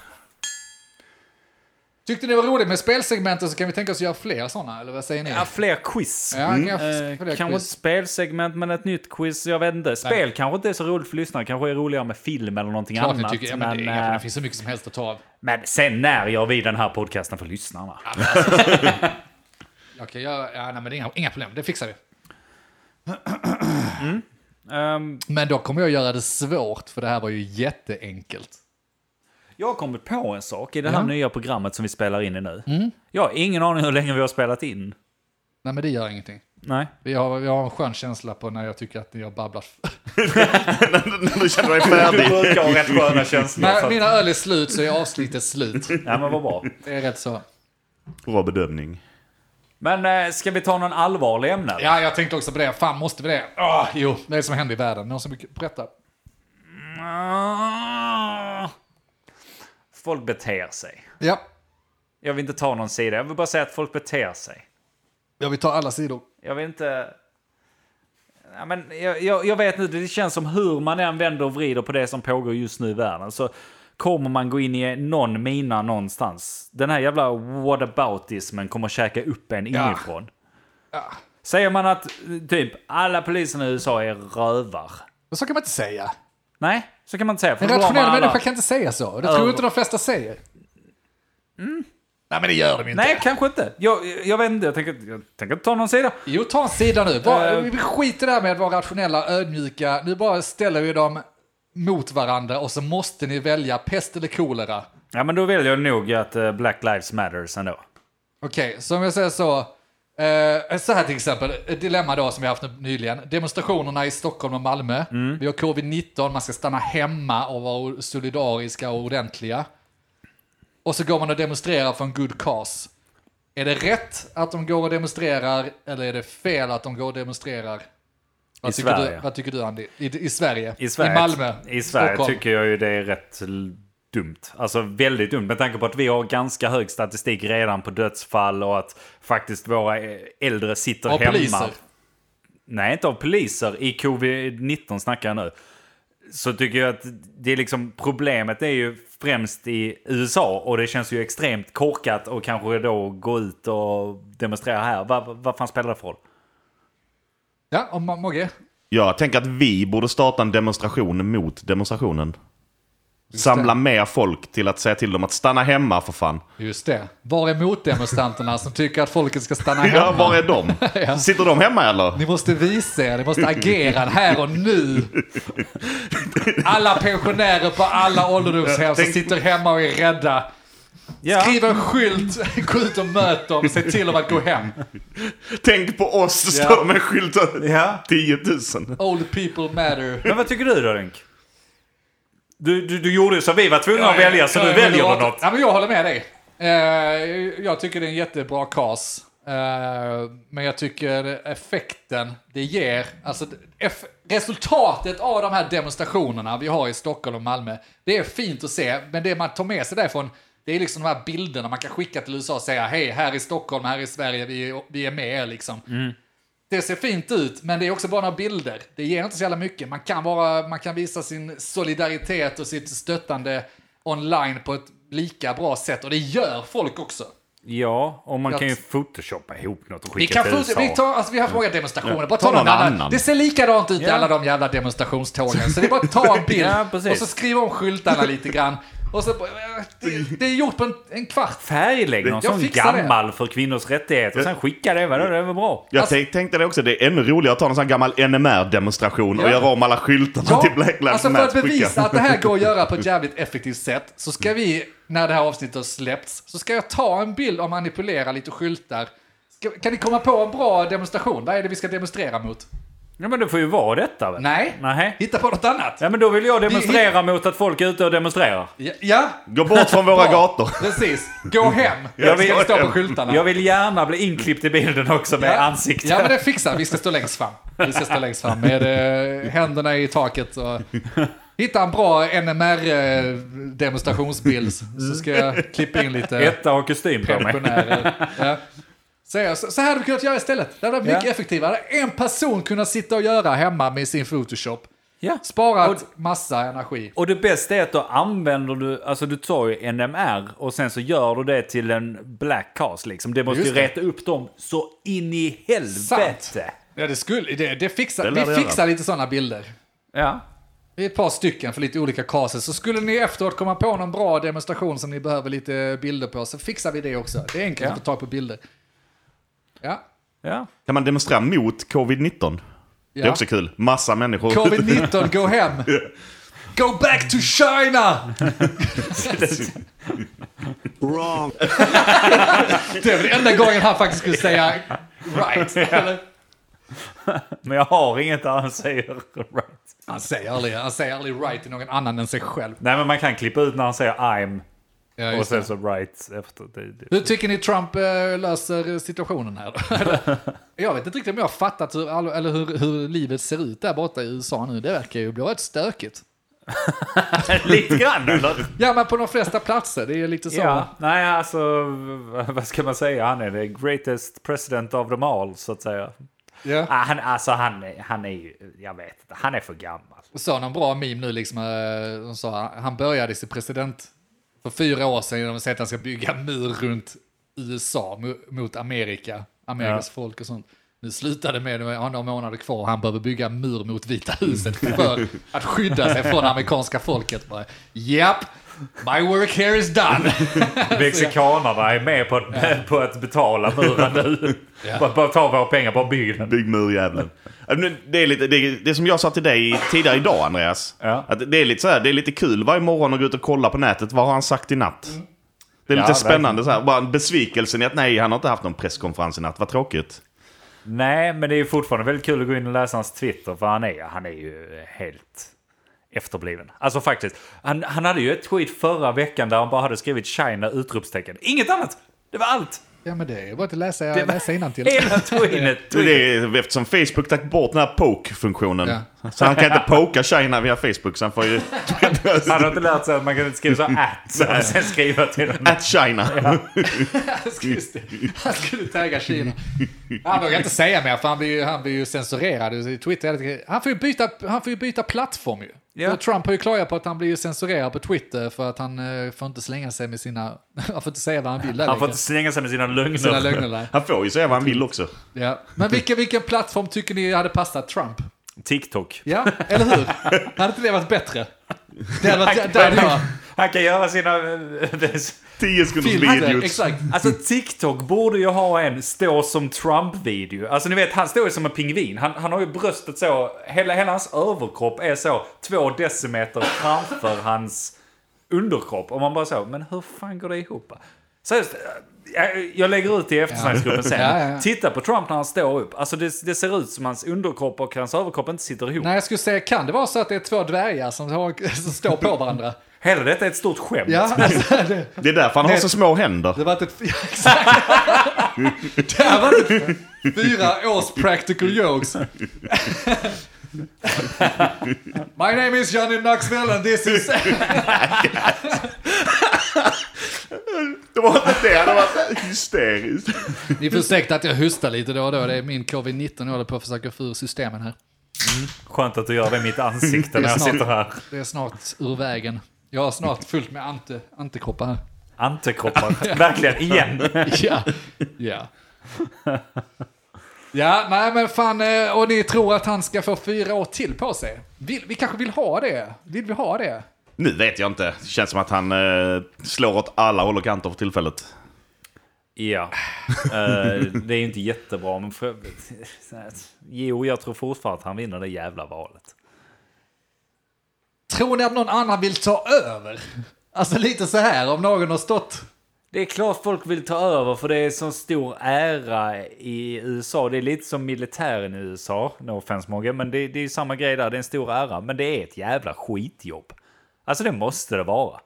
Speaker 1: Tyckte ni det var roligt med spelsegmenten så kan vi tänka oss att göra fler sådana, eller vad säger ni?
Speaker 3: Ja, fler quiz.
Speaker 1: Ja,
Speaker 3: Eh,
Speaker 1: kanske,
Speaker 3: kanske ett spelsegment men ett nytt quiz, jag vet inte. Spel kanske inte är så roligt för lyssnare, kanske är roligare med film eller någonting
Speaker 1: Klart ni
Speaker 3: annat.
Speaker 1: tycker, ja, men,
Speaker 3: men,
Speaker 1: det, är, inga-
Speaker 3: eh,
Speaker 1: det finns så mycket som helst att ta av.
Speaker 3: men sen när gör vi den här podcasten för lyssnarna?
Speaker 1: Jag kan göra, ja, nej, men det är inga, inga problem, det fixar vi.
Speaker 3: Ehm,
Speaker 1: Men då kommer jag göra det svårt, för det här var ju jätteenkelt.
Speaker 3: Jag har kommit på en sak i det här nya programmet som vi spelar in i nu.
Speaker 1: Mm.
Speaker 3: Jag har ingen aning hur länge vi har spelat in.
Speaker 1: Nej, men det gör ingenting.
Speaker 3: Nej.
Speaker 1: Vi har, vi har en skön känsla på när jag tycker att jag babblar.
Speaker 4: När du känner dig färdig.
Speaker 3: brukar ha rätt sköna känslor.
Speaker 1: När mina öl är slut så är avsnittet slut.
Speaker 3: Nej, men vad bra.
Speaker 1: Det är rätt så.
Speaker 4: Bra bedömning.
Speaker 3: Men eh, ska vi ta någon allvarlig ämne? eller?
Speaker 1: Ja, jag tänkte också på det. Fan, måste vi det? Ah, jo, det är det som händer i världen. Någon som vill berätta?
Speaker 3: Ah. Folk beter sig.
Speaker 1: Ja,
Speaker 3: Jag vill inte ta någon sida. Jag vill bara säga att folk beter sig.
Speaker 1: jag vill ta alla sidor.
Speaker 3: Jag vill inte... Ja, men jag, jag, jag vet inte, det känns som hur man än vänder och vrider på det som pågår just nu i världen så kommer man gå in i någon mina någonstans. Den här jävla whataboutismen kommer käka upp en
Speaker 1: Ja.
Speaker 3: inifrån. Säger man att typ alla poliserna i USA är rövar.
Speaker 1: Men så kan man inte säga.
Speaker 3: Nej, så kan man inte säga. För
Speaker 1: En
Speaker 3: då har man
Speaker 1: rationell
Speaker 3: alla-
Speaker 1: människa kan inte säga så. Det tror jag
Speaker 3: Över-
Speaker 1: inte de flesta säger. Nej, men det gör de inte.
Speaker 3: Nej, kanske inte. Jag, jag vet inte, jag tänker, jag tänker inte ta någon sida.
Speaker 1: Jo, ta en sida nu. Var,
Speaker 3: Eh.
Speaker 1: vi skiter där med att vara rationella, ödmjuka. Nu bara ställer vi dem mot varandra och så måste ni välja pest eller kolera.
Speaker 3: Ja, men då väljer jag nog att eh, Black Lives Matters ändå.
Speaker 1: Okej, så om jag säger så. Eh, så här till exempel, ett dilemma då som vi har haft nu nyligen. Demonstrationerna i Stockholm och Malmö.
Speaker 3: Mm.
Speaker 1: Vi har covid-19, man ska stanna hemma och vara solidariska och ordentliga. Och så går man och demonstrerar för en good cause. Är det rätt att de går och demonstrerar eller är det fel att de går och demonstrerar? Vad
Speaker 3: I
Speaker 1: tycker
Speaker 3: Sverige.
Speaker 1: Du, vad tycker du Andy? I, I Sverige?
Speaker 3: I Sverige,
Speaker 1: I Malmö?
Speaker 3: I Sverige
Speaker 1: Stockholm.
Speaker 3: tycker jag ju det är rätt l- dumt. Alltså väldigt dumt med tanke på att vi har ganska hög statistik redan på dödsfall och att faktiskt våra eh, äldre sitter
Speaker 1: Och
Speaker 3: hemma.
Speaker 1: poliser?
Speaker 3: Nej, inte av poliser. I covid-19 snackar jag nu. Så tycker jag att det är liksom problemet är ju främst i USA och det känns ju extremt korkat och kanske då gå ut och demonstrera här. Vad vad fan spelar det för roll?
Speaker 1: Ja, och Ma- Mogge?
Speaker 4: Jag tänker att vi borde starta en demonstration mot demonstrationen. Samla mer folk till att säga till dem att stanna hemma för fan.
Speaker 1: Just det. Var är motdemonstranterna som tycker att folket ska stanna hemma?
Speaker 4: Ja, var är de? Sitter de hemma eller?
Speaker 1: Ni måste visa er, ni måste agera här och nu. Alla pensionärer på alla ålderdomshem som
Speaker 4: Tänk-
Speaker 1: sitter hemma och är rädda.
Speaker 3: Ja.
Speaker 1: Skriv en skylt, gå ut och möt dem, se till dem att gå hem.
Speaker 4: Tänk på oss, står de med en skylt.
Speaker 3: Ja.
Speaker 4: 10 000.
Speaker 1: Old people matter.
Speaker 3: Men vad tycker du då, Rönk? Du, du, du gjorde ju så vi var tvungna att välja, så
Speaker 1: Jag
Speaker 3: nu
Speaker 1: är
Speaker 3: väljer du
Speaker 1: moderat.
Speaker 3: något.
Speaker 1: Ja, men jag håller med dig. Eh, Jag tycker det är en jättebra kas. Men jag tycker effekten det ger, alltså eff- resultatet av de här demonstrationerna vi har i Stockholm och Malmö, det är fint att se, men det man tar med sig därifrån, det är liksom de här bilderna man kan skicka till USA och säga hej, här i Stockholm, här i Sverige, vi är, vi är med er liksom. Det ser fint ut, men det är också bara några bilder. Det ger inte så jävla mycket. Man kan, vara, man kan visa sin solidaritet och sitt stöttande online på ett lika bra sätt. Och det gör folk också.
Speaker 3: Ja, och man
Speaker 1: Jag-
Speaker 3: kan ju photoshoppa ihop något och
Speaker 1: Vi,
Speaker 3: skicka
Speaker 1: kan
Speaker 3: till
Speaker 1: få,
Speaker 3: USA.
Speaker 1: vi, tar, alltså, vi har haft många demonstrationer. Bara ta, någon annan. Det ser likadant ut i
Speaker 3: Ja.
Speaker 1: alla de jävla demonstrationstågen. Så det är bara att ta en bild
Speaker 3: Ja, precis.
Speaker 1: och så skriva om skyltarna lite grann. Och så, det, det är gjort på en, en kvart.
Speaker 3: Färglägg någon
Speaker 4: Jag
Speaker 3: sån
Speaker 1: fixar det.
Speaker 3: gammal för kvinnors rättigheter och sen skicka det, vadå, det är väl bra?
Speaker 4: Jag
Speaker 1: Alltså-
Speaker 4: tänk- tänkte det också, det är ännu roligare att ta en sån här gammal NMR-demonstration och göra om alla skyltarna till Black Lives
Speaker 1: alltså för
Speaker 4: Matter.
Speaker 1: att bevisa
Speaker 4: Skicka.
Speaker 1: att det här går att göra på ett jävligt effektivt sätt så ska vi, när det här avsnittet har släppts, så ska jag ta en bild och manipulera lite skyltar. Ska, kan ni komma på en bra demonstration? Vad är det vi ska demonstrera mot?
Speaker 3: Ja, men det får ju vara detta väl?
Speaker 1: Nej,
Speaker 3: Nej.
Speaker 1: hitta på något annat.
Speaker 3: Ja, men då vill jag demonstrera mot att folk är ute och demonstrerar.
Speaker 1: Ja, ja
Speaker 4: Gå bort från våra gator.
Speaker 1: precis. Gå hem.
Speaker 4: Jag
Speaker 1: Vi ska
Speaker 4: vill-
Speaker 1: stå på skyltarna.
Speaker 3: Jag vill gärna bli inklippt i bilden också med
Speaker 1: Ja.
Speaker 3: ansiktet.
Speaker 1: Ja, men det fixar vi. ska stå längst fram. Vi ska stå längst fram med eh, händerna i taket och hitta en bra NMR-demonstrationsbild eh, så ska jag klippa in lite.
Speaker 3: Etta och kostym på mig.
Speaker 1: pensionärer. ja. Så, jag- så, så här hade vi kunnat göra istället. Det hade varit mycket
Speaker 3: Ja.
Speaker 1: effektivare. En person kunnat sitta och göra hemma med sin Photoshop.
Speaker 3: Ja.
Speaker 1: Sparat massa energi.
Speaker 3: Och det bästa är att då använder du, alltså du tar ju NMR och sen så gör du det till en black cast liksom. Det måste
Speaker 1: Just
Speaker 3: ju
Speaker 1: det.
Speaker 3: reta upp dem så in i helvete.
Speaker 1: Sant. Ja, det skulle, det, det fixar,
Speaker 4: Det lär
Speaker 1: vi
Speaker 4: vi
Speaker 1: fixar lite sådana bilder.
Speaker 3: Ja.
Speaker 1: Det är ett par stycken för lite olika cases. Så skulle ni efteråt komma på någon bra demonstration som ni behöver lite bilder på så fixar vi det också. Det är enkelt
Speaker 3: Ja.
Speaker 1: att få tag på bilder. Ja.
Speaker 3: ja.
Speaker 4: Kan man demonstrera mot covid-19? Det
Speaker 1: Ja.
Speaker 4: är också kul. Massa människor.
Speaker 1: Covid-19, gå hem! Go back to China!
Speaker 7: Wrong.
Speaker 1: Det är väl enda gången han faktiskt skulle säga right. Eller?
Speaker 3: Men jag har inget där han säger right.
Speaker 1: Han säger aldrig, han säger aldrig right till någon annan än sig själv.
Speaker 3: Nej, men man kan klippa ut när han säger I'm
Speaker 1: Ja,
Speaker 3: och
Speaker 1: just
Speaker 3: sen
Speaker 1: det.
Speaker 3: så right efter. Det, det.
Speaker 1: Hur tycker ni Trump eh, löser situationen här då? Eller? jag vet inte riktigt om jag har fattat hur, all- eller hur, hur livet ser ut där borta i USA nu. Det verkar ju bli rätt stökigt.
Speaker 3: Lite grann eller?
Speaker 1: Ja, men på de flesta platser. Det är lite så.
Speaker 3: Ja, nej alltså vad ska man säga? Han är the greatest president of them all så att säga.
Speaker 1: Ja.
Speaker 3: Ah, han, alltså han, är- han är ju, jag vet inte, han är för gammal.
Speaker 1: såg någon bra meme nu, liksom, eh, de sa, han började sin president för fyra år sedan genom att säga att han ska bygga en mur runt USA mo- mot Amerika, Amerikas folk och sånt. Nu slutade med, han har några månader kvar, han behöver bygga en mur mot Vita huset för att skydda sig från amerikanska folket. Bara, Japp, my work here is done.
Speaker 3: Mexikanerna är med på att, på att betala muren nu. Bara, bara ta våra pengar, bara bygg den.
Speaker 4: Bygg murjävlen. Ja, men Det är lite, det, är- det är som jag sa till dig tidigare idag Andreas.
Speaker 3: Ja.
Speaker 4: Att det, är lite så här, det är lite kul varje morgon att gå ut och kolla på nätet. Vad har han sagt i natt?
Speaker 1: Mm.
Speaker 4: Det är
Speaker 3: Ja,
Speaker 4: lite spännande
Speaker 3: verkligen.
Speaker 4: så här. Bara besvikelsen i att nej, han har inte haft någon presskonferens i natt. Vad tråkigt.
Speaker 3: Nej, men det är ju fortfarande väldigt kul att gå in och läsa hans Twitter för han är, han är ju helt efterbliven. Alltså faktiskt, han, han hade ju ett tweet förra veckan där han bara hade skrivit China utropstecken. Inget annat! Det var allt!
Speaker 1: Ja men det är bara att läsa,
Speaker 3: Det var-
Speaker 1: läsa innantill.
Speaker 3: Hela tweetet. tweetet.
Speaker 4: Det är, eftersom Facebook tagit bort den här poke-funktionen.
Speaker 1: Ja.
Speaker 4: Så han kan inte poka China via Facebook. Så han får ju...
Speaker 3: Han har inte lärt sig att man kan inte skriva så här att och sen skriva till dem.
Speaker 4: At China.
Speaker 1: Just det. Han skulle tagga Kina. Han vågar inte säga mer för han blir ju, han blir ju censurerad i Twitter. Han får ju byta, han får ju byta plattform ju.
Speaker 3: Ja.
Speaker 1: Och Trump har ju klagat på att han blir ju censurerad på Twitter för att han eh, får inte slänga sig med sina... Han får inte säga vad han vill. där
Speaker 3: Han får
Speaker 1: längre.
Speaker 3: inte slänga sig med sina lögner.
Speaker 1: sina lögner där.
Speaker 4: Han får ju säga vad han vill också.
Speaker 1: Ja. Men vilken, vilken plattform tycker ni hade passat Trump?
Speaker 3: TikTok.
Speaker 1: Ja, eller hur? Hade inte det varit bättre? Det hade varit... Där hade jag...
Speaker 3: Han kan göra sina...
Speaker 4: 10 sekunders
Speaker 1: Filmen,
Speaker 4: videos.
Speaker 1: exakt.
Speaker 3: Alltså TikTok borde ju ha en stå som Trump-video. Alltså ni vet, han står ju som en pingvin. Han, han har ju bröstet så, hela, hela hans överkropp är så två decimeter framför hans underkropp. Och man bara så, men hur fan går det ihop? Seriöst, jag, jag lägger ut i eftersnacksgruppen sen.
Speaker 1: Ja, ja, ja.
Speaker 3: Titta på Trump när han står upp. Alltså det, det ser ut som hans underkropp och hans överkropp inte sitter ihop.
Speaker 1: Nej, jag skulle säga, kan det vara så att det är två dvärgar som, har, som står på varandra?
Speaker 3: Hela detta är ett stort skämt.
Speaker 1: Ja, alltså, det,
Speaker 4: Det är därför han har så små händer.
Speaker 1: det var ett... Ja, exakt. Det här var ett fyra års practical jokes. My name is Johnny Knoxville and this is...
Speaker 4: Det var inte det. Det var hysteriskt.
Speaker 1: Ni får ursäkta att jag hustar lite då och då. Det är min covid-19 jag håller på att försöka få ur systemen här.
Speaker 3: Skönt att du gör det i mitt ansikte när jag
Speaker 1: snart.
Speaker 3: sitter här.
Speaker 1: Det är snart ur vägen. Jag har snart fullt med ante, antikroppar här.
Speaker 3: Antikroppar. Verkligen, igen.
Speaker 1: Ja, ja. Ja, nej men fan, eh, och ni tror att han ska få fyra år till på sig? Vill, vi kanske vill ha det? Vill vi ha det?
Speaker 4: Nu vet jag inte. Det känns som att han eh, slår åt alla håll och kanter för tillfället.
Speaker 3: Ja, Eh, det är ju inte jättebra, men för... jo, jag tror fortfarande att han vinner det jävla valet.
Speaker 1: Tror ni att någon annan vill ta över? Alltså lite så här, om någon har stått...
Speaker 3: Det är klart folk vill ta över för det är så stor ära i USA. Det är lite som militären i USA, no offense Mogge, men det, det är ju samma grej där. Det är en stor ära, men det är ett jävla skitjobb. Alltså det måste det vara.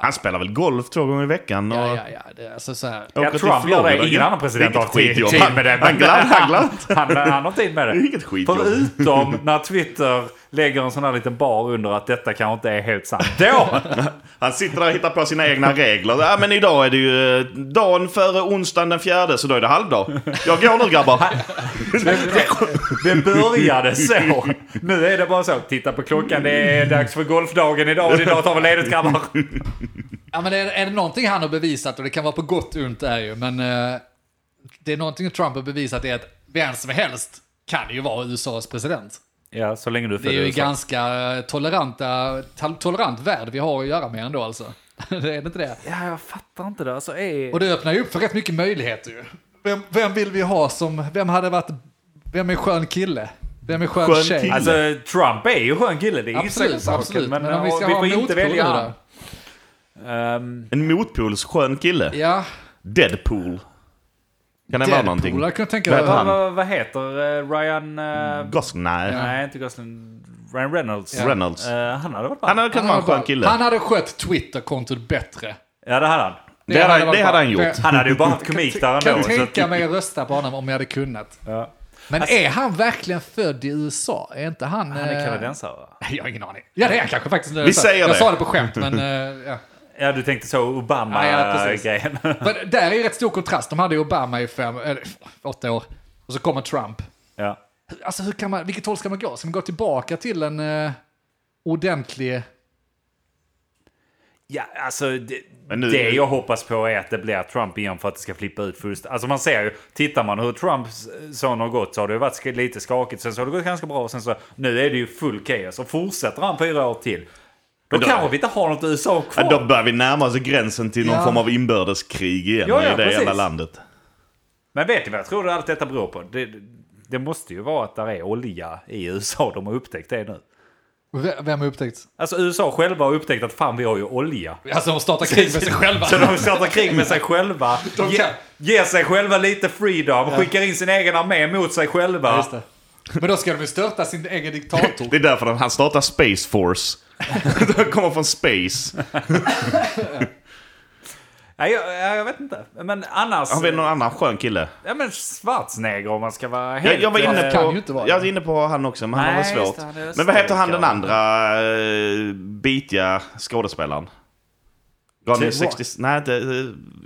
Speaker 4: Han spelar väl golf två gånger i veckan och
Speaker 1: Ja, ja, ja, det är alltså så här.
Speaker 4: åker
Speaker 3: Ja,
Speaker 4: till
Speaker 3: Trump gör det.
Speaker 4: Florida.
Speaker 3: Ingen annan president har
Speaker 4: Vilket
Speaker 3: tid
Speaker 4: skitjobb.
Speaker 3: tid med det.
Speaker 4: Han glad, han glad.
Speaker 3: Han, han har tid med det.
Speaker 4: Vilket skitjobb.
Speaker 3: Förutom när Twitter lägger en sån här liten bar under att detta kanske inte är helt sant. Då!
Speaker 4: Han sitter där och hittar på sina egna regler. Ja, men idag är det ju eh, dagen före onsdagen den fjärde, så då är det halvdag. Jag går nu grabbar.
Speaker 3: Det började så. Nu är det bara så. Titta på klockan. Det är dags för golfdagen idag. Idag tar vi ledigt grabbar.
Speaker 1: Ja, men är, är det någonting han har bevisat, och det kan vara på gott och ont det är ju, men eh, det är någonting Trump har bevisat är att vem som helst kan ju vara USAs president.
Speaker 3: Ja, så länge du
Speaker 1: Det är ju
Speaker 3: följer
Speaker 1: en
Speaker 3: USA.
Speaker 1: ganska eh, toleranta, tol- tolerant värld vi har att göra med ändå alltså. det är det inte det?
Speaker 3: Ja, jag fattar inte det. Alltså, är...
Speaker 1: Och det öppnar ju upp för rätt mycket möjligheter ju. Vem, vem vill vi ha som, vem hade varit, vem är en skön kille? Vem är skön,
Speaker 4: Skön
Speaker 1: tjej?
Speaker 4: kille.
Speaker 3: Alltså, Trump är ju en skön kille, det är inget
Speaker 1: Absolut,
Speaker 3: snack om
Speaker 1: absolut.
Speaker 3: saken. Men,
Speaker 1: Men, om vi
Speaker 3: och
Speaker 1: ska
Speaker 3: vi
Speaker 1: ha
Speaker 3: får
Speaker 1: en
Speaker 3: inte
Speaker 1: motpol nu
Speaker 3: välja
Speaker 1: då?
Speaker 3: han. Ehm,
Speaker 4: En motpolsskön kille.
Speaker 1: Ja,
Speaker 4: Deadpool. Kan det vara någonting?
Speaker 1: Deadpool. Jag kunde tänka
Speaker 4: Vad
Speaker 1: mig
Speaker 4: heter
Speaker 3: vad, vad,
Speaker 4: han?
Speaker 3: vad heter eh, Ryan... eh,
Speaker 4: Gosling? Nej.
Speaker 3: Nej, inte Gosling. Ryan Reynolds.
Speaker 1: Ja.
Speaker 4: Reynolds.
Speaker 3: Eh, han hade varit bra.
Speaker 4: Han hade kunnat vara en skön kille.
Speaker 1: Han hade skött Twitterkontot bättre.
Speaker 3: Ja, det hade han.
Speaker 4: Det hade,
Speaker 1: varit
Speaker 4: det
Speaker 1: bra.
Speaker 4: hade han gjort.
Speaker 1: Det-
Speaker 3: Han hade ju bara haft komik där ändå.
Speaker 1: Kan
Speaker 3: så
Speaker 1: tänka
Speaker 3: att-
Speaker 1: mig att rösta på honom om jag hade kunnat.
Speaker 3: Ja.
Speaker 1: Men
Speaker 4: Alltså-
Speaker 1: är han verkligen född i USA? Är inte han...
Speaker 3: Han är
Speaker 1: eh,
Speaker 3: kanadensare va?
Speaker 1: Nej, Jag har ingen aning. Ja, det är han kanske faktiskt.
Speaker 4: Vi säger
Speaker 1: jag
Speaker 4: det.
Speaker 1: sa det på skämt, men... eh, ja.
Speaker 3: Ja, du tänkte så
Speaker 1: Ja, ja, precis.
Speaker 3: Obama-grejen.
Speaker 1: Men där är ju rätt stor kontrast. De hade ju Obama i fem, eller åtta år. Och så kommer Trump.
Speaker 3: ja.
Speaker 1: Alltså hur kan man, vilket håll ska man gå? Ska man gå tillbaka till en eh, ordentlig...
Speaker 3: ja, alltså det,
Speaker 4: Men nu-
Speaker 3: det jag hoppas på är att det blir Trump igen för att det ska flippa ut först. Alltså man ser ju, tittar man hur Trumps son har gått så har det ju varit sk- lite skakigt. Sen så har det gått ganska bra och sen så nu är det ju full kaos. Och fortsätter han fyra år till, då,
Speaker 4: då-
Speaker 3: kanske vi inte har något USA
Speaker 4: Ja,
Speaker 3: kvar.
Speaker 4: Då börjar vi närma oss gränsen till någon
Speaker 1: Ja.
Speaker 4: form av inbördeskrig igen
Speaker 3: Ja, ja,
Speaker 4: i det
Speaker 3: precis.
Speaker 4: jävla landet.
Speaker 3: Men vet ni vad jag tror allt detta beror på? Det, det måste ju vara att där är olja i USA. De har upptäckt det nu.
Speaker 1: V- Vem har upptäckt?
Speaker 3: Alltså USA själva har upptäckt att fan vi har ju olja.
Speaker 1: Alltså de startar krig med sig själva.
Speaker 3: Så de startar krig med sig själva.
Speaker 1: De
Speaker 3: Ge,
Speaker 1: kan.
Speaker 3: ger sig själva lite freedom. Skickar in sin egen armé mot sig själva.
Speaker 1: Just det. Men då ska de ju störta sin egen diktator.
Speaker 4: Det är därför han startar Space Force. De kommer från space.
Speaker 3: Nej, jag, jag, jag vet inte. Men annars...
Speaker 4: Han är någon annan skön kille.
Speaker 3: Ja men Schwarzenegger om man ska vara helt...
Speaker 4: Jag, jag var
Speaker 3: eh,
Speaker 4: inne på,
Speaker 1: kan ju inte vara
Speaker 4: jag var
Speaker 1: det.
Speaker 4: inne på han också, men han
Speaker 3: Nej,
Speaker 4: var
Speaker 3: just det,
Speaker 4: svårt.
Speaker 3: han är
Speaker 4: men vad heter han den
Speaker 3: österrikare.
Speaker 4: andra uh, bitiga skådespelaren?
Speaker 3: The
Speaker 4: Ronny
Speaker 3: Rock.
Speaker 4: 60... Nej, inte... eh,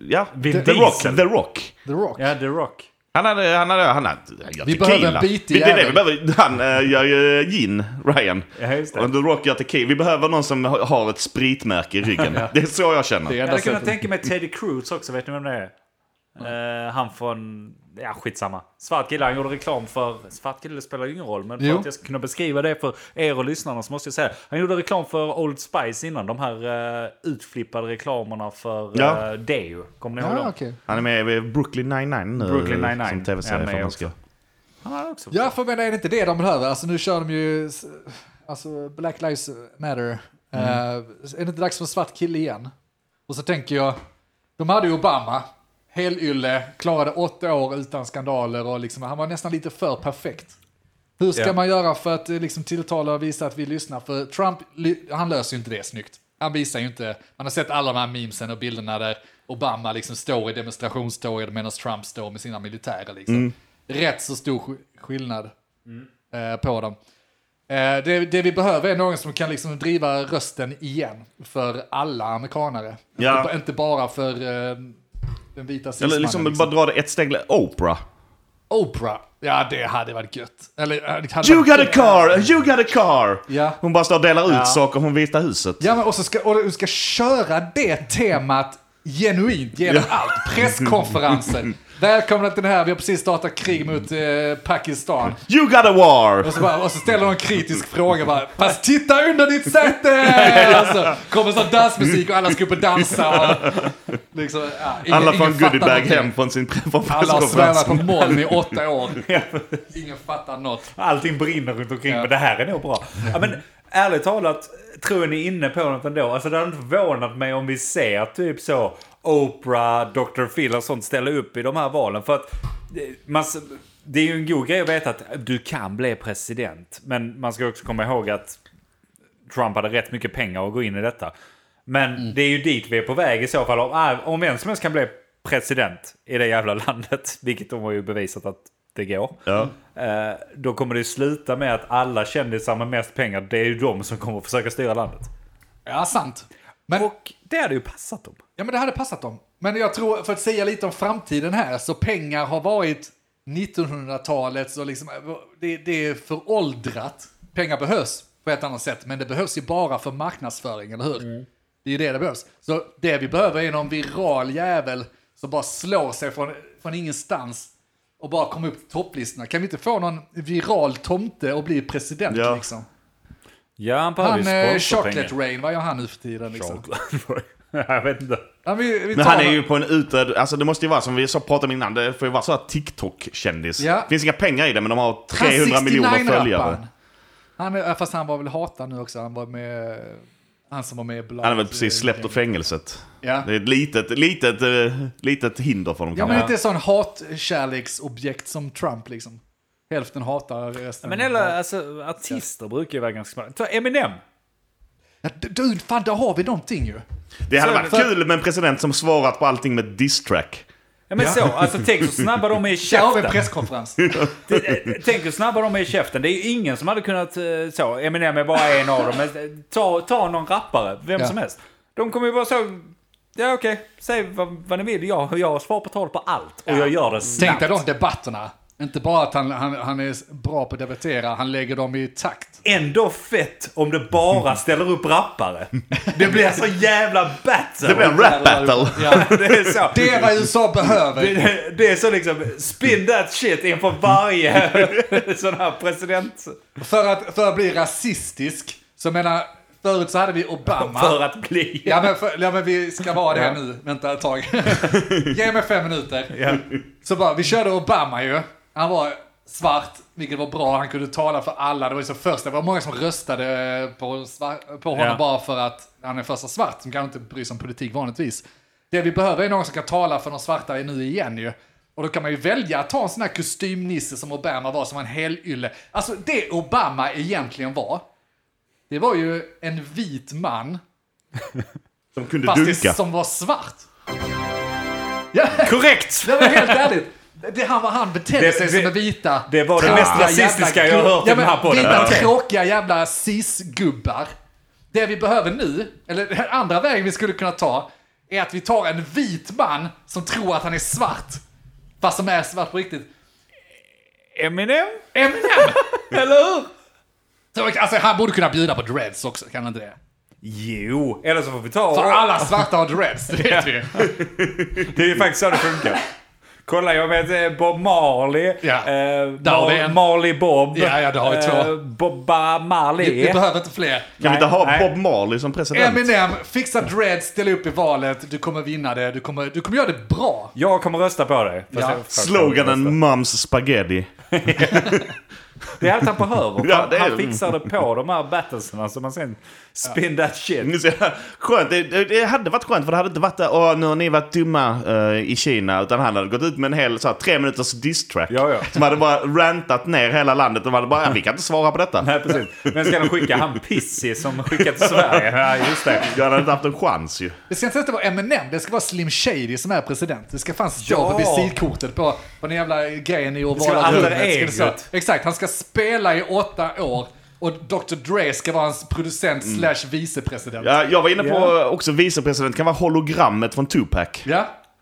Speaker 4: ja.
Speaker 3: Vin
Speaker 4: The, The
Speaker 3: Diesel.
Speaker 4: Rock. The Rock.
Speaker 1: The Rock.
Speaker 3: Ja, The Rock.
Speaker 4: Han hade... Han hade, han hade jag
Speaker 1: Vi
Speaker 4: tycker
Speaker 1: behöver en
Speaker 4: illa.
Speaker 1: bitig
Speaker 4: Vi- Det är det vi
Speaker 1: jävel.
Speaker 4: behöver. Han eh, gör ju gin, Ryan.
Speaker 3: Ja, just det.
Speaker 4: Och The Rock gör tequila. Vi behöver någon som har- har ett spritmärke i ryggen. Det är så jag känner.
Speaker 1: Det är
Speaker 3: Jag
Speaker 1: enda
Speaker 3: hade kunnat
Speaker 1: sättet.
Speaker 3: tänka mig Teddy Cruz också, vet ni vem det är? Eh, han från... Ja, skitsamma. Svart kille, han gjorde reklam för... Svart kille spelar ju ingen roll, men
Speaker 1: Jo.
Speaker 3: för att jag ska kunna beskriva det för er och lyssnarna så måste jag säga. Han gjorde reklam för Old Spice innan, de här eh, utflippade reklamerna för
Speaker 4: Ja.
Speaker 3: ja. Deo. Kommer ni ihåg
Speaker 1: Ja,
Speaker 3: dem?
Speaker 1: okej.
Speaker 4: Han är med i Brooklyn 99 nu.
Speaker 3: Brooklyn Nine-Nine
Speaker 4: Som
Speaker 3: är
Speaker 4: tv-serie
Speaker 3: med
Speaker 4: för man
Speaker 3: också.
Speaker 4: ska.
Speaker 3: Han hade också...
Speaker 1: Ja, för men är det inte det de behöver? Alltså nu kör de ju... s- Alltså Black Lives Matter. Eh, är det inte dags för en svart kille igen? Och så tänker jag, de hade ju Obama. Helylle, klarade åtta år utan skandaler och liksom, han var nästan lite för perfekt. Hur ska
Speaker 3: Ja.
Speaker 1: man göra för att eh, liksom, tilltala och visa att vi lyssnar? För Trump, ly- han löser ju inte det snyggt. Han visar ju inte, man har sett alla de här memesen och bilderna där Obama liksom står i demonstrationståget medan Trump står med sina militärer. Liksom.
Speaker 4: Mm.
Speaker 1: Rätt så stor sk- skillnad eh, på dem. Eh, det, det vi behöver är någon som kan liksom driva rösten igen för alla amerikanare.
Speaker 4: Ja.
Speaker 1: Inte, ba- inte bara för eh, den vita
Speaker 4: Eller
Speaker 1: cismannen.
Speaker 4: liksom, bara dra det ett steg längre. Oprah.
Speaker 1: Oprah, ja det hade varit gött. Eller, eh, det hade
Speaker 4: You
Speaker 1: varit
Speaker 4: got a
Speaker 1: gött.
Speaker 4: car! You got a car!
Speaker 1: Ja.
Speaker 4: Hon bara står och delar ut saker från Vita huset.
Speaker 1: Ja, men och, så ska, och du ska köra det temat genuint genom allt. Presskonferenser. Välkomna till det här, vi har precis startat krig mot eh, Pakistan.
Speaker 4: You got a war!
Speaker 1: Och så, bara, och så ställer de en kritisk fråga bara, fast titta under ditt säte! Alltså, kommer så dansmusik och alla ska upp och dansa. Och, liksom, ja, ingen,
Speaker 4: Alla får
Speaker 1: ingen
Speaker 4: en
Speaker 1: fattar
Speaker 4: goodiebag
Speaker 1: någonting.
Speaker 4: hem från sin från
Speaker 1: Alla har svävat på
Speaker 4: presskonferensen.
Speaker 1: moln i åtta år. Ingen fattar något.
Speaker 3: Allting brinner runt omkring,
Speaker 1: Ja.
Speaker 3: men det här är nog bra. Ja, men, ärligt talat, tror jag ni är inne på något ändå. Alltså, det hade inte förvånat mig om vi ser typ så Oprah, Dr. Phil och sånt ställa upp i de här valen. För att eh, man, s- det är ju en god grej att veta att du kan bli president. Men man ska också komma ihåg att Trump hade rätt mycket pengar att gå in i detta. Men
Speaker 1: Mm.
Speaker 3: det är ju dit vi är på väg i så fall. Om, ah, om vem som helst kan bli president i det jävla landet, vilket de har ju bevisat att det går.
Speaker 4: Ja.
Speaker 3: Eh, då kommer det sluta med att alla kändisar med mest pengar, det är ju de som kommer försöka styra landet.
Speaker 1: Ja, sant. Men,
Speaker 3: Och det hade ju passat dem.
Speaker 1: Ja, men det hade passat dem. Men jag tror, för att säga lite om framtiden här, så pengar har varit 1900-talets och liksom, det, det är föråldrat. Pengar behövs på ett annat sätt, men det behövs ju bara för marknadsföring, eller hur? Det är ju det det behövs. Så det vi behöver är någon viral jävel som bara slår sig från, från ingenstans och bara kommer upp till topplistorna. Kan vi inte få någon viral tomte och bli president
Speaker 4: Ja.
Speaker 1: liksom?
Speaker 3: Ja, han behöver
Speaker 1: Han, eh,
Speaker 3: ju
Speaker 1: Chocolate
Speaker 3: sponsorpengar.
Speaker 1: Rain, vad gör han nu för tiden? Liksom?
Speaker 3: Chocolate Rain. Jag vet inte.
Speaker 1: Ja, vi, vi tar
Speaker 4: Men han är
Speaker 1: honom.
Speaker 4: ju på en utredd... Alltså det måste ju vara som vi så pratade om innan. Det får ju vara så här TikTok-kändis.
Speaker 1: Ja.
Speaker 4: finns inga pengar i det men de har
Speaker 1: Han
Speaker 4: 300 miljoner
Speaker 1: 69-rapparen.
Speaker 4: följare.
Speaker 1: Han är, eh, fast han var väl hatad nu också. Han var med... eh, Han som var med i Blad.
Speaker 4: Han är väl precis släppt ur fängelset.
Speaker 1: Ja.
Speaker 4: Det är ett litet, litet, eh, litet hinder för dem.
Speaker 1: Ja,
Speaker 4: kanske.
Speaker 1: men inte sån hatkärleksobjekt som Trump liksom. Hälften hatar resten.
Speaker 3: Men eller, alltså, artister brukar ju vara ganska smarta. Ta Eminem.
Speaker 1: Ja, d- du, fan där har vi någonting ju.
Speaker 4: Det hade
Speaker 3: Så-
Speaker 4: varit
Speaker 3: för-
Speaker 4: kul med en president som svarat på allting med diss-track.
Speaker 3: Ja men så, alltså tänk hur snabba de är i
Speaker 1: Där har vi en
Speaker 3: käften.
Speaker 1: presskonferens.
Speaker 3: Eh, Tänk hur snabba de är i käften. Det är ju ingen som hade kunnat eh, så. Eminem är bara en av dem. Men eh, ta, ta någon rappare, vem
Speaker 1: Ja.
Speaker 3: som helst. De kommer ju bara så... Ja okej, säg vad, vad ni vill. Jag, jag har svar på tal på allt. Mm. Och jag gör det
Speaker 1: Tänk
Speaker 3: snabbt.
Speaker 1: dig de debatterna. Inte bara att han, han, han är bra på att debattera, han lägger dem i takt.
Speaker 3: Ändå fett om det bara ställer upp rappare. Det blir så jävla battle.
Speaker 4: Det blir en rap battle.
Speaker 1: Ja.
Speaker 3: Det är så.
Speaker 1: Det är vad USA behöver.
Speaker 3: Det, det är så liksom, spin that shit inför varje sån här president.
Speaker 1: För att, för att bli rasistisk, så menar, förut så hade vi Obama.
Speaker 3: För att bli...
Speaker 1: Ja men, för, ja men vi ska vara det nu, vänta ett tag. Ge mig fem minuter. Så bara, vi körde Obama ju. Han var svart, vilket var bra. Han kunde tala för alla. Det var ju så första, det var många som röstade på, svar- på honom
Speaker 3: Ja.
Speaker 1: bara för att han är första svart, som kanske inte bryr sig om politik vanligtvis. Det vi behöver är någon som kan tala för de svarta nu igen ju. Och då kan man ju välja att ta en sån här kostymnisse som Obama var, som var en helylle. Alltså det Obama egentligen var, det var ju en vit man
Speaker 4: De kunde
Speaker 1: Fast det
Speaker 4: dunka.
Speaker 1: som var svart. Ja,
Speaker 3: Korrekt!
Speaker 1: det var helt ärligt. Det, han, var- han betedde
Speaker 3: Det-
Speaker 1: sig
Speaker 3: det-
Speaker 1: som en vita.
Speaker 3: det var det
Speaker 1: tråkiga
Speaker 3: mest rasistiska
Speaker 1: jävla
Speaker 3: jag har
Speaker 1: gub-
Speaker 3: hört i den här
Speaker 1: men
Speaker 3: podden.
Speaker 1: Vita
Speaker 3: Okej.
Speaker 1: tråkiga jävla cis-gubbar. Det vi behöver nu, eller den andra vägen vi skulle kunna ta, är att vi tar en vit man som tror att han är svart. Fast som är svart på riktigt.
Speaker 3: Eminem?
Speaker 1: Eminem!
Speaker 3: Eller hur?
Speaker 1: Så, Alltså han borde kunna bjuda på dreads också, kan han inte det?
Speaker 3: Jo, eller så får vi ta...
Speaker 1: För alla svarta har dreads, det vet vi ju.
Speaker 3: Det är ju faktiskt så det funkar. Kolla, jag vet eh, Bob Marley,
Speaker 1: Ja.
Speaker 3: eh,
Speaker 1: Där har vi
Speaker 3: Mar-
Speaker 1: en.
Speaker 3: Marley Bob,
Speaker 1: Ja, ja, det har vi två.
Speaker 3: Bobba Marley.
Speaker 1: Vi behöver inte fler.
Speaker 4: Kan vi inte
Speaker 3: Nej,
Speaker 4: ha
Speaker 3: nej.
Speaker 4: Bob Marley som president?
Speaker 1: Eminem, fixa dreads, ställ upp i valet, du kommer vinna det, du kommer, du kommer göra det bra.
Speaker 3: Jag kommer rösta på dig. Fast
Speaker 1: Ja.
Speaker 3: jag- fast jag kommer
Speaker 4: Sloganen
Speaker 3: rösta.
Speaker 4: Mums Spaghetti.
Speaker 3: Det är allt han behöver.
Speaker 4: Ja,
Speaker 3: Han-
Speaker 4: det är
Speaker 3: han
Speaker 4: det.
Speaker 3: fixar det på de här battlesarna som man sen spin that shit.
Speaker 4: Ni ser, Skönt, det, det- det hade varit skönt för det hade inte varit åh nu har ni varit dumma eh, i Kina. Utan han hade gått ut med en hel så här, tre minuters diss-track.
Speaker 3: Ja, ja.
Speaker 4: Som hade bara rantat ner hela landet. De hade bara, "Ja, vi kan inte svara på detta.
Speaker 3: Nej, precis. Men ska de skicka han Pissi som skickat till Sverige? Ja, just det.
Speaker 4: Jag hade inte haft en chans ju.
Speaker 1: Det ska inte ens vara Eminem, det ska vara Slim Shady som är president. Det ska fan stå
Speaker 3: Ja.
Speaker 1: på visitkortet på, på den jävla grejen i
Speaker 3: ska
Speaker 1: ovala
Speaker 3: vara alter
Speaker 1: rummet. Ska det stå-
Speaker 3: egot.
Speaker 1: Exakt, han ska spela i åtta år och Dr. Dre ska vara hans producent slash vicepresident. Ja.
Speaker 4: Ja, jag var inne på
Speaker 3: Mm. Ja.
Speaker 4: eh, också vicepresident kan vara hologrammet från Tupac.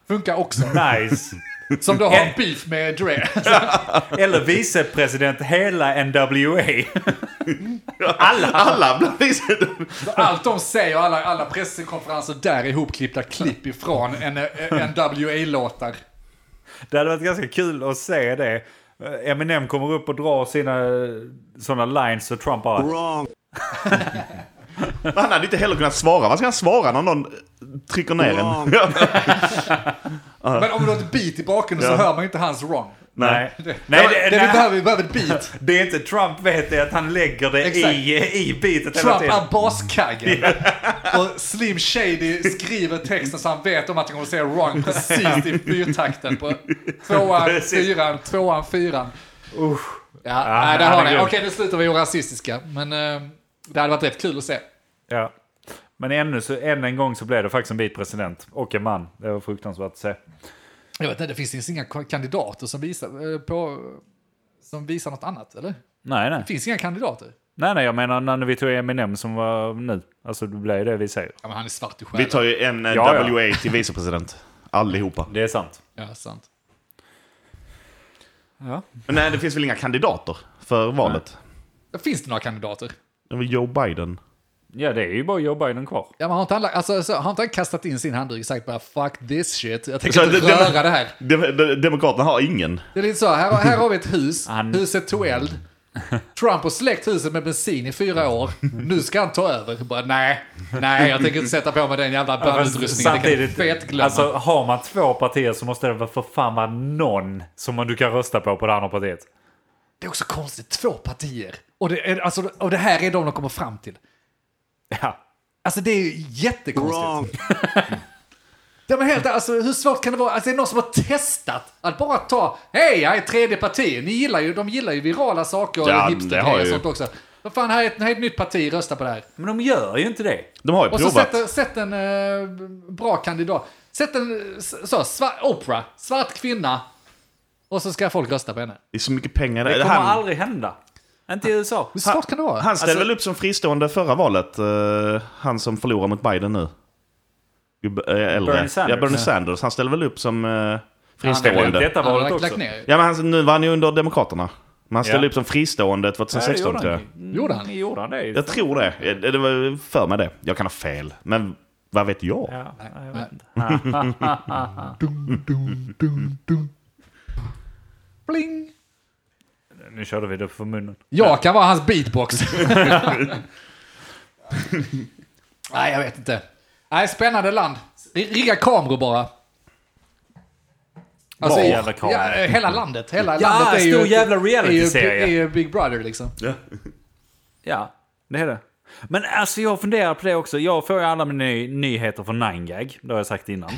Speaker 1: Funkar också.
Speaker 3: Nice.
Speaker 1: Som då har en beef med Dre.
Speaker 3: Eller vicepresident hela NWA.
Speaker 4: Alla! Alla bland vice-
Speaker 1: Allt de säger och alla, alla presskonferenser där är ihopklippta klipp ifrån en, en WA-låtar.
Speaker 3: Det hade varit ganska kul att se det. Eh, Eminem kommer upp och drar sina sådana lines och Trump bara...
Speaker 4: Han hade inte heller kunnat svara. Vad ska han svara när någon trycker ner en? Ja.
Speaker 1: Men om du har ett beat i bakgrunden
Speaker 4: Ja.
Speaker 1: så hör man ju inte hans wrong.
Speaker 3: Nej,
Speaker 1: Det,
Speaker 3: nej,
Speaker 1: det,
Speaker 3: det,
Speaker 1: vi
Speaker 3: nej,
Speaker 1: behöver, vi behöver ett beat.
Speaker 3: det är inte Trump vet det att han lägger det
Speaker 1: Exakt.
Speaker 3: i, i bitet hela
Speaker 1: Trump
Speaker 3: tiden.
Speaker 1: är baskaggen. Och Slim Shady skriver texten så han vet om att han kommer att säga wrong precis i fyrtakten på tvåan,
Speaker 3: Precis.
Speaker 1: fyran, tvåan, fyran. Ja,
Speaker 3: Ja,
Speaker 1: nej, där
Speaker 3: han
Speaker 1: har
Speaker 3: är
Speaker 1: ni.
Speaker 3: grym.
Speaker 1: Okej, nu slutar vi vara rasistiska. Men eh, det hade varit rätt kul att se.
Speaker 3: Ja. Men ännu så, än en gång så blev det faktiskt en vit president. Och en man. Det var fruktansvärt att se.
Speaker 1: Jag vet inte, det finns inga kandidater som visar, eh, på, som visar något annat, eller?
Speaker 3: Nej, nej.
Speaker 1: Det finns inga kandidater.
Speaker 3: Nej, nej, jag menar när vi tog Eminem som var nu. Alltså det blev det vi säger.
Speaker 1: Ja, men han är svart i
Speaker 4: Vi
Speaker 1: själen.
Speaker 4: tar ju en eh,
Speaker 3: Ja, ja.
Speaker 4: WA till vicepresident. Allihopa.
Speaker 3: Det är sant.
Speaker 1: Ja, sant.
Speaker 4: Men nej, det finns väl inga kandidater för valet?
Speaker 1: Finns det några kandidater?
Speaker 4: Det var Joe Biden.
Speaker 3: Ja, det är ju bara Joe Biden kvar.
Speaker 1: Ja, men har inte han, lagt- alltså, så, har inte han kastat in sin handduk och sagt bara fuck this shit, jag
Speaker 4: Så
Speaker 1: tänker inte
Speaker 4: det- det-
Speaker 1: röra det här.
Speaker 4: De, de, demokraterna har ingen.
Speaker 1: Det är lite så, här, har- här har vi ett hus,
Speaker 3: Han-
Speaker 1: huset tog eld, Trump har släckt huset med bensin i fyra år. Nu ska han ta över. Bara, nej, nej, jag tänker inte sätta på mig den jävla bandutrustningen. Det kan du glömma.
Speaker 3: alltså har man två partier så måste det väl för fan vara någon som man- du kan rösta på på det andra partiet.
Speaker 1: Det är också konstigt, två partier. Och det, är, alltså, och det här är de de kommer fram till.
Speaker 3: Ja.
Speaker 1: Alltså det är ju jättekonstigt. Ja, men helt, alltså, hur svårt kan det vara? Alltså, det är någon som har testat att bara ta, hej, jag är tredje parti. Ni gillar ju, de gillar ju virala saker och
Speaker 4: Ja, det har
Speaker 1: hipstergrejer och
Speaker 4: ju.
Speaker 1: sånt också. Vad fan, här är, ett, här är ett nytt parti, rösta på det här.
Speaker 3: Men de gör ju inte det.
Speaker 4: De har ju
Speaker 1: Och så
Speaker 4: provat.
Speaker 1: sätt, sätt en eh, bra kandidat. Sätt en eh, så, svart, Oprah, svart kvinna. Och så ska folk rösta på henne.
Speaker 4: Det är så mycket pengar där.
Speaker 3: Det kommer
Speaker 4: Han,
Speaker 3: aldrig hända. Inte i USA.
Speaker 1: Hur svårt kan det vara?
Speaker 4: han ställde
Speaker 3: Alltså-
Speaker 4: väl upp som fristående förra valet. eh, han som förlorar mot Biden nu. Gubbe- eh, äldre.
Speaker 3: Bernie Sanders.
Speaker 4: Ja, Bernie Sanders. Han ställde väl upp som eh,
Speaker 3: Det
Speaker 4: fristående.
Speaker 3: Detta
Speaker 1: Han har
Speaker 3: valet
Speaker 1: lagt,
Speaker 3: också.
Speaker 1: lagt ner.
Speaker 4: Ja, men han, nu var han ju under Demokraterna. Men han ställde
Speaker 3: Ja.
Speaker 4: upp som fristående 2016 tror jag.
Speaker 1: Mm, Gjorde han?
Speaker 3: Mm, Gjorde han det?
Speaker 4: Jag tror det. Eh, Det var för mig det. Jag kan ha fel. Men vad vet jag?
Speaker 3: Ja, jag vet inte.
Speaker 1: Bling!
Speaker 3: Nu körde vi det för munnen.
Speaker 1: Jag kan vara hans beatbox. Nej, jag vet inte. Nej, spännande land. R- Rigga kameror bara. Alltså,
Speaker 3: Bra
Speaker 1: i-
Speaker 3: jävla kameror.
Speaker 1: Ja, eh, hela landet. Hela
Speaker 3: Ja,
Speaker 1: landet är ju...
Speaker 3: stor jävla
Speaker 1: Är ju,
Speaker 3: reality-serie.
Speaker 1: är ju Big Brother liksom.
Speaker 3: Ja, det är det. Men alltså jag funderar på det också. Jag får ju alla mina ny- nyheter från 9gag. Det har jag sagt innan.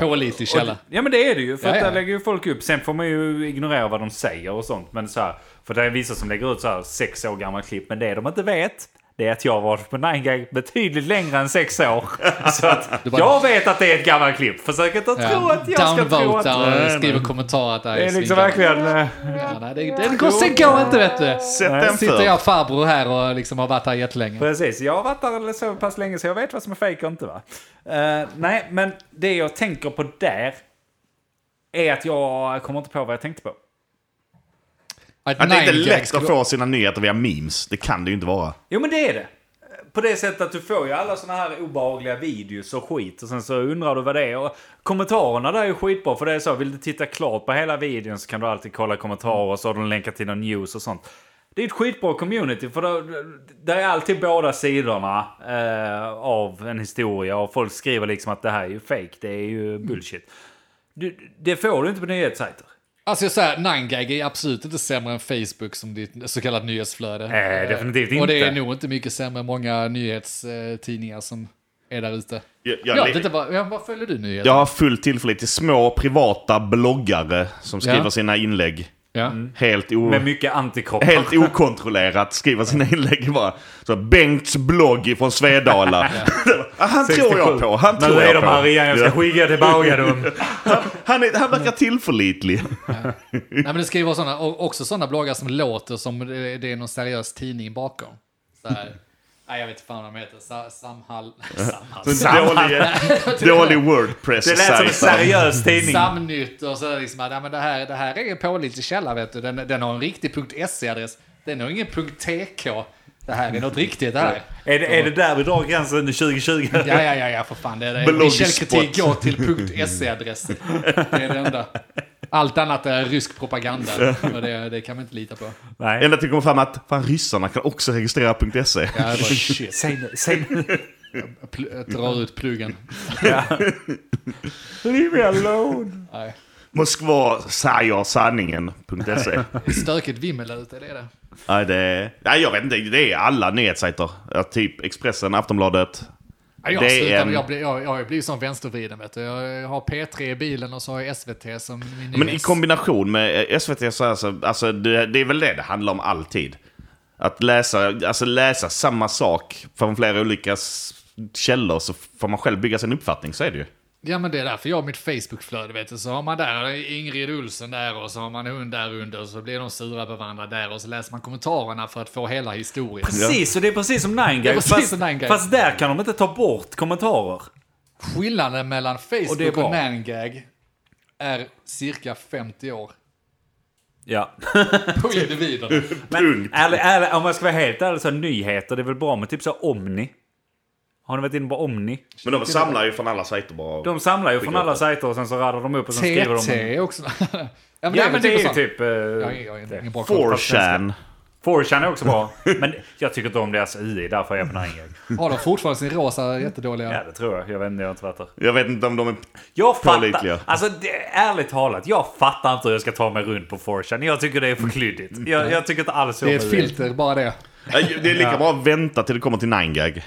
Speaker 1: Pålitlig källa.
Speaker 3: Ja men det är det ju. För
Speaker 1: Ja,
Speaker 3: att
Speaker 1: ja.
Speaker 3: där lägger ju folk upp. Sen får man ju ignorera vad de säger och sånt. Men så här, för det är vissa som lägger ut så här sex år gamla klipp. Men det de inte vet. Det är att jag har varit på 9gag betydligt längre än sex år. Så att
Speaker 1: bara-
Speaker 3: jag vet att det är ett gammalt klipp. Försök inte tro att jag ska tro att...
Speaker 1: Downvotar och
Speaker 3: Nej, nej.
Speaker 1: skriver kommentarer att det här
Speaker 3: Det är liksom
Speaker 1: svinkammare.
Speaker 3: verkligen... eh,
Speaker 1: Ja, nej, det, det, det går, sen går inte vet du.
Speaker 4: Sätt den
Speaker 1: Sitter
Speaker 4: för.
Speaker 1: jag farbror här och liksom har varit här jättelänge.
Speaker 3: Precis, jag har varit där så pass länge så jag vet vad som är fejk och inte va. Eh, nej, men det jag tänker på där är att jag kommer inte på vad jag tänkte på.
Speaker 1: Att
Speaker 4: Att det är inte
Speaker 1: Nine Gag
Speaker 4: lätt
Speaker 1: skulle-
Speaker 4: att få sina nyheter via memes. Det kan det ju inte vara.
Speaker 3: Jo men det är det. På det sättet att du får ju alla såna här obehagliga videos och skit och sen så undrar du vad det är. Och kommentarerna där är ju skitbra för det är så, vill du titta klart på hela videon så kan du alltid kolla kommentarer och så har de länkat till någon news och sånt. Det är ett skitbra community för där, där är alltid båda sidorna eh, av en historia och folk skriver liksom att det här är ju fake, det är ju bullshit. Du, det får du inte på nyhetssajter.
Speaker 1: Alltså jag säger, 9gag är absolut inte sämre än Facebook som ditt så kallat nyhetsflöde.
Speaker 3: Nej, definitivt
Speaker 1: Och det är
Speaker 3: inte.
Speaker 1: nog inte mycket sämre än många nyhetstidningar som är där ute.
Speaker 4: Jag, jag,
Speaker 1: Jag
Speaker 4: jag,
Speaker 1: vet inte, vad, ja, vad följer du nyheter?
Speaker 4: har full tillförlit till små privata bloggare som skriver
Speaker 1: Ja.
Speaker 4: sina inlägg.
Speaker 1: Ja.
Speaker 4: Helt, o,
Speaker 3: Med mycket antikroppar.
Speaker 4: helt okontrollerat skriver sina inlägg bara. Så Bengts blogg från Svedala. Ah, han tror jag på. Han
Speaker 3: Nu
Speaker 4: tror
Speaker 3: är
Speaker 4: jag
Speaker 3: de här
Speaker 4: på.
Speaker 3: igen, jag ska skicka tillbaka dem.
Speaker 4: Han, är, han verkar tillförlitlig.
Speaker 1: Nej, men det ska ju vara såna, och också sådana bloggar som låter som det det är någon seriös tidning bakom. Så här, nej, jag vet inte fan vad de heter. Sa, Samhall... Samhall.
Speaker 4: Så en dålig, eh, dålig wordpress
Speaker 3: Det lät som en seriös tidning.
Speaker 1: Samnytt och sådär liksom. att, Ja, men det, här, det här är en pålitlig källa vet du. Den, den har en riktig .se-adress. Den har ingen .tk. Det här är något riktigt det här.
Speaker 3: Är det, är det där vi drar gränsen under 2020?
Speaker 1: Ja, ja, ja, ja för fan. Det är det.
Speaker 4: Bloggspot.
Speaker 1: Min källkritik går till .se-adressen. Det är det enda. Allt annat är rysk propaganda. Och det, det kan man inte lita på.
Speaker 3: Nej.
Speaker 4: Ända till det kommer fram att fan, ryssarna kan också registrera E. .se.
Speaker 1: Ja, det var shit.
Speaker 3: Säg nu, säg nu.
Speaker 1: Pl- jag drar ut pluggen.
Speaker 3: Leave me alone.
Speaker 1: Nej.
Speaker 4: Moskva säger sanningen.se.
Speaker 1: Stökigt vimmel där ute, det är det.
Speaker 4: Nej, det, nej, jag vet inte. Det är alla nyhetssajter. Ja, typ Expressen, Aftonbladet.
Speaker 1: Ja, Jag,
Speaker 4: Det är
Speaker 1: slutade,
Speaker 4: en-
Speaker 1: jag, blir, jag, jag har ju blivit sån vänstervriden vet du. Jag har P3 i bilen och så har jag SVT som min
Speaker 4: Men i
Speaker 1: nyhets-
Speaker 4: kombination med eh, SVT så här, så, alltså, det, det är väl det det handlar om alltid. Att läsa, alltså läsa samma sak från flera olika s- källor så får man själv bygga sin uppfattning, så är det ju.
Speaker 1: Ja men det är därför jag har mitt Facebookflöde vet du. Så har man där Ingrid Olsen där och så har man hon där under och så blir de sura på varandra där och så läser man kommentarerna för att få hela historien.
Speaker 3: Precis, och det är precis som Nine
Speaker 1: är
Speaker 3: Guys.
Speaker 1: precis
Speaker 3: Fast,
Speaker 1: som Nine Guys.
Speaker 3: fast där kan de inte ta bort kommentarer.
Speaker 1: Skillnaden mellan
Speaker 3: Och det är
Speaker 1: Facebook
Speaker 3: bra.
Speaker 1: och, Nangag är cirka 50 år.
Speaker 3: Ja.
Speaker 1: På individerna.
Speaker 3: Men ärlig, ärlig, om jag ska vara helt ärlig så nyheter, det är väl bra med typ så Omni. Har ni varit inne på Omni?
Speaker 4: Men de samlar ju från alla sajter bara.
Speaker 3: De samlar ju från alla sajter och sen så radar de upp och sen skriver de...
Speaker 1: TT också. ja, men
Speaker 3: Ja, men det är ju
Speaker 1: sånt.
Speaker 3: typ...
Speaker 1: Jag har
Speaker 3: eh,
Speaker 1: ingen- jag har ingen bra koll.
Speaker 4: 4chan.
Speaker 3: 4chan är också bra. Men jag tycker inte om deras UI, därför är jag på den här grejen.
Speaker 1: Har de fortfarande sin rosa jättedåliga...
Speaker 3: Ja, det tror jag. Jag vet inte, jag har inte varit där.
Speaker 4: Jag vet inte om de är...
Speaker 3: Jag
Speaker 4: Pålitliga.
Speaker 3: fattar, alltså det, ärligt talat, jag fattar inte hur jag ska ta mig runt på 4chan. Jag tycker det är för klyddigt. Jag, jag tycker inte alls
Speaker 1: Det är ett filter, bara det.
Speaker 4: Nej, Det är lika bra att vänta till det kommer till 9gag.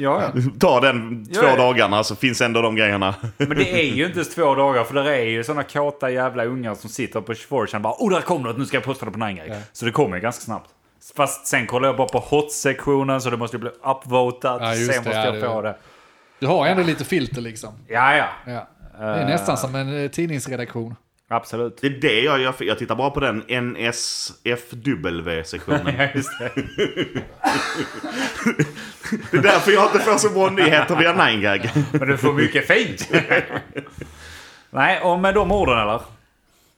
Speaker 3: Ja, ja.
Speaker 4: Ta den två
Speaker 3: Ja, ja.
Speaker 4: dagarna så finns ändå de grejerna.
Speaker 3: Men det är ju inte ens två dagar för det är ju såna kåta jävla ungar som sitter på 4chan och bara oh där kom något, nu ska jag posta det på 9gag. Så det kommer ju ganska snabbt. Fast sen kollar jag bara på hot-sektionen så det måste ju bli upvotat.
Speaker 1: Ja, just
Speaker 3: sen
Speaker 1: det,
Speaker 3: måste
Speaker 1: ja,
Speaker 3: jag
Speaker 1: det-
Speaker 3: få det.
Speaker 1: Du har ändå lite filter liksom.
Speaker 3: Ja, ja.
Speaker 1: Ja. Det är
Speaker 3: Eh.
Speaker 1: nästan som en eh, tidningsredaktion.
Speaker 3: Absolut.
Speaker 4: Det är det jag gör. Jag tittar bara på den NSFW-sektionen.
Speaker 3: Ja, just det.
Speaker 4: Det är därför jag inte får så bra nyheter via 9gag.
Speaker 3: Men du får mycket fint. Nej, och med de orden eller?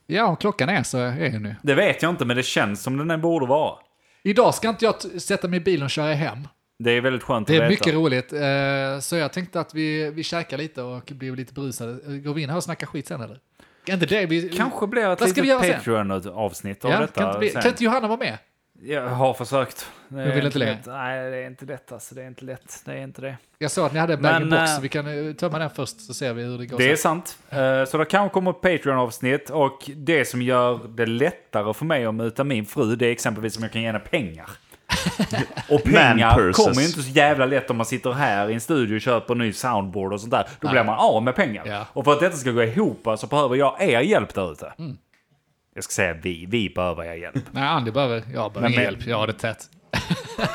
Speaker 1: Ja, om klockan är så är det nu.
Speaker 3: Det vet jag inte, men det känns som den borde vara.
Speaker 1: Idag ska inte jag t- sätta mig i bilen och köra hem.
Speaker 3: Det är väldigt skönt
Speaker 1: Det
Speaker 3: att
Speaker 1: är
Speaker 3: veta.
Speaker 1: mycket roligt. Eh, Så jag tänkte att vi, vi käkar lite och blir lite berusade. Går vi in här och snackar skit sen eller? Kan inte det? Vi,
Speaker 3: Kanske blir ett
Speaker 1: Vad ska vi göra sen?
Speaker 3: litet Patreon-avsnitt av
Speaker 1: ja,
Speaker 3: detta
Speaker 1: kan, inte vi,
Speaker 3: sen.
Speaker 1: kan inte Johanna vara med?
Speaker 3: Jag har försökt. Det är
Speaker 1: vill inte längre.
Speaker 3: lätt. Nej, det är inte lätt alltså. Det är inte lätt. Det är inte det.
Speaker 1: Jag såg att ni hade en bag
Speaker 3: Men,
Speaker 1: box.
Speaker 3: eh,
Speaker 1: så Vi kan eh, tömma den först så ser vi hur det går.
Speaker 3: Det är
Speaker 1: sen.
Speaker 3: sant. Eh, Så det kanske kommer ett Patreon-avsnitt och det som gör det lättare för mig att muta min fru det är exempelvis om jag kan ge henne pengar. Och pengar
Speaker 4: Man-purses.
Speaker 3: kommer ju inte så jävla lätt om man sitter här i en studio och köper ny soundboard och sånt där. Då blir man av med pengar.
Speaker 1: Ja.
Speaker 3: Och för att detta ska gå ihop så behöver jag er hjälp där ute. Jag ska säga vi, vi behöver er hjälp.
Speaker 1: Nej, Andy behöver... Jag behöver ingen
Speaker 3: men-
Speaker 1: hjälp. Jag har det tätt.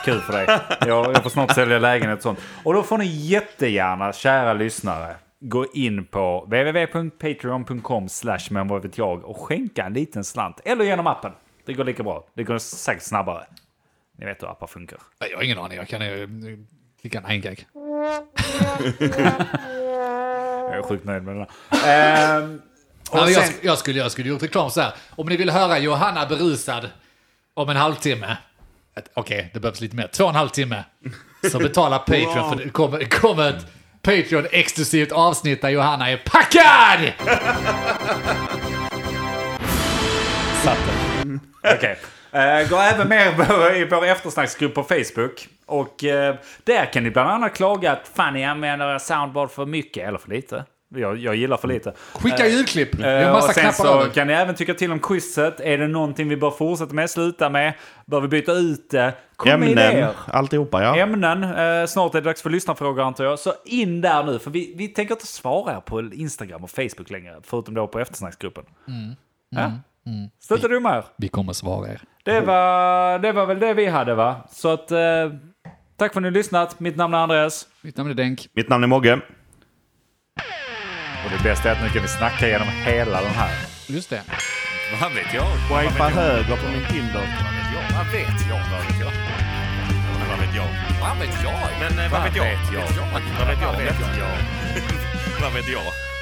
Speaker 3: Kul för dig. Jag, jag får snart sälja lägenhet och sånt. Och då får ni jättegärna, kära lyssnare, gå in på www.patreon.com slash men vad vet jag och skänka en liten slant. Eller genom appen. Det går lika bra. Det går säkert snabbare. Ni vet hur appar funkar.
Speaker 1: Nej, Jag har ingen aning. Jag kan ju eh, klicka en gag.
Speaker 3: Jag är sjukt nöjd med den här. Ehm, och
Speaker 1: Ja, jag,
Speaker 3: sen-
Speaker 1: sk- jag, skulle, jag skulle gjort reklam så här. Om ni vill höra Johanna berusad om en halvtimme. Ett- Okej, det behövs lite mer. Två och en halv timme. Så betala Patreon för det kommer, det kommer ett Patreon-exklusivt avsnitt där Johanna är packad!
Speaker 3: Okej. Eh, gå även med på- i vår eftersnacksgrupp på Facebook. Och eh, där kan ni bland annat klaga att fan ni använder era soundboard för mycket eller för lite. Jag, jag gillar för lite.
Speaker 1: Skicka ljudklipp! Det är en
Speaker 3: Eh,
Speaker 1: massa
Speaker 3: och sen
Speaker 1: knappar
Speaker 3: så
Speaker 1: över.
Speaker 3: kan ni även tycka till om quizet. Är det någonting vi bör fortsätta med, sluta med? Bör vi byta ut det? Kom med
Speaker 4: Ämnen,
Speaker 3: idéer.
Speaker 4: alltihopa ja.
Speaker 3: Ämnen. Eh, snart är det dags för lyssnarfrågor antar jag. Så in där nu, för vi, vi tänker inte svara er på Instagram och Facebook längre. Förutom då på eftersnacksgruppen. Mm. Ja? Sluta dumma er.
Speaker 1: Vi kommer svara er.
Speaker 3: Det var, det var väl det vi hade va? Så att eh, tack för att ni har lyssnat. Mitt namn är Andreas.
Speaker 1: Mitt namn är Denk.
Speaker 4: Mitt namn är Mogge.
Speaker 3: Och det bästa är att nu kan vi snacka genom hela den här.
Speaker 1: Just det.
Speaker 2: Vad vet jag?
Speaker 4: Wipa höger på min Tinder.
Speaker 2: Vad vet jag? Vad vet jag? Vad vet jag? Vad vet jag? Vad vet jag? Men vad vet jag? Vad vet jag? Vad vet jag? Vad vet jag?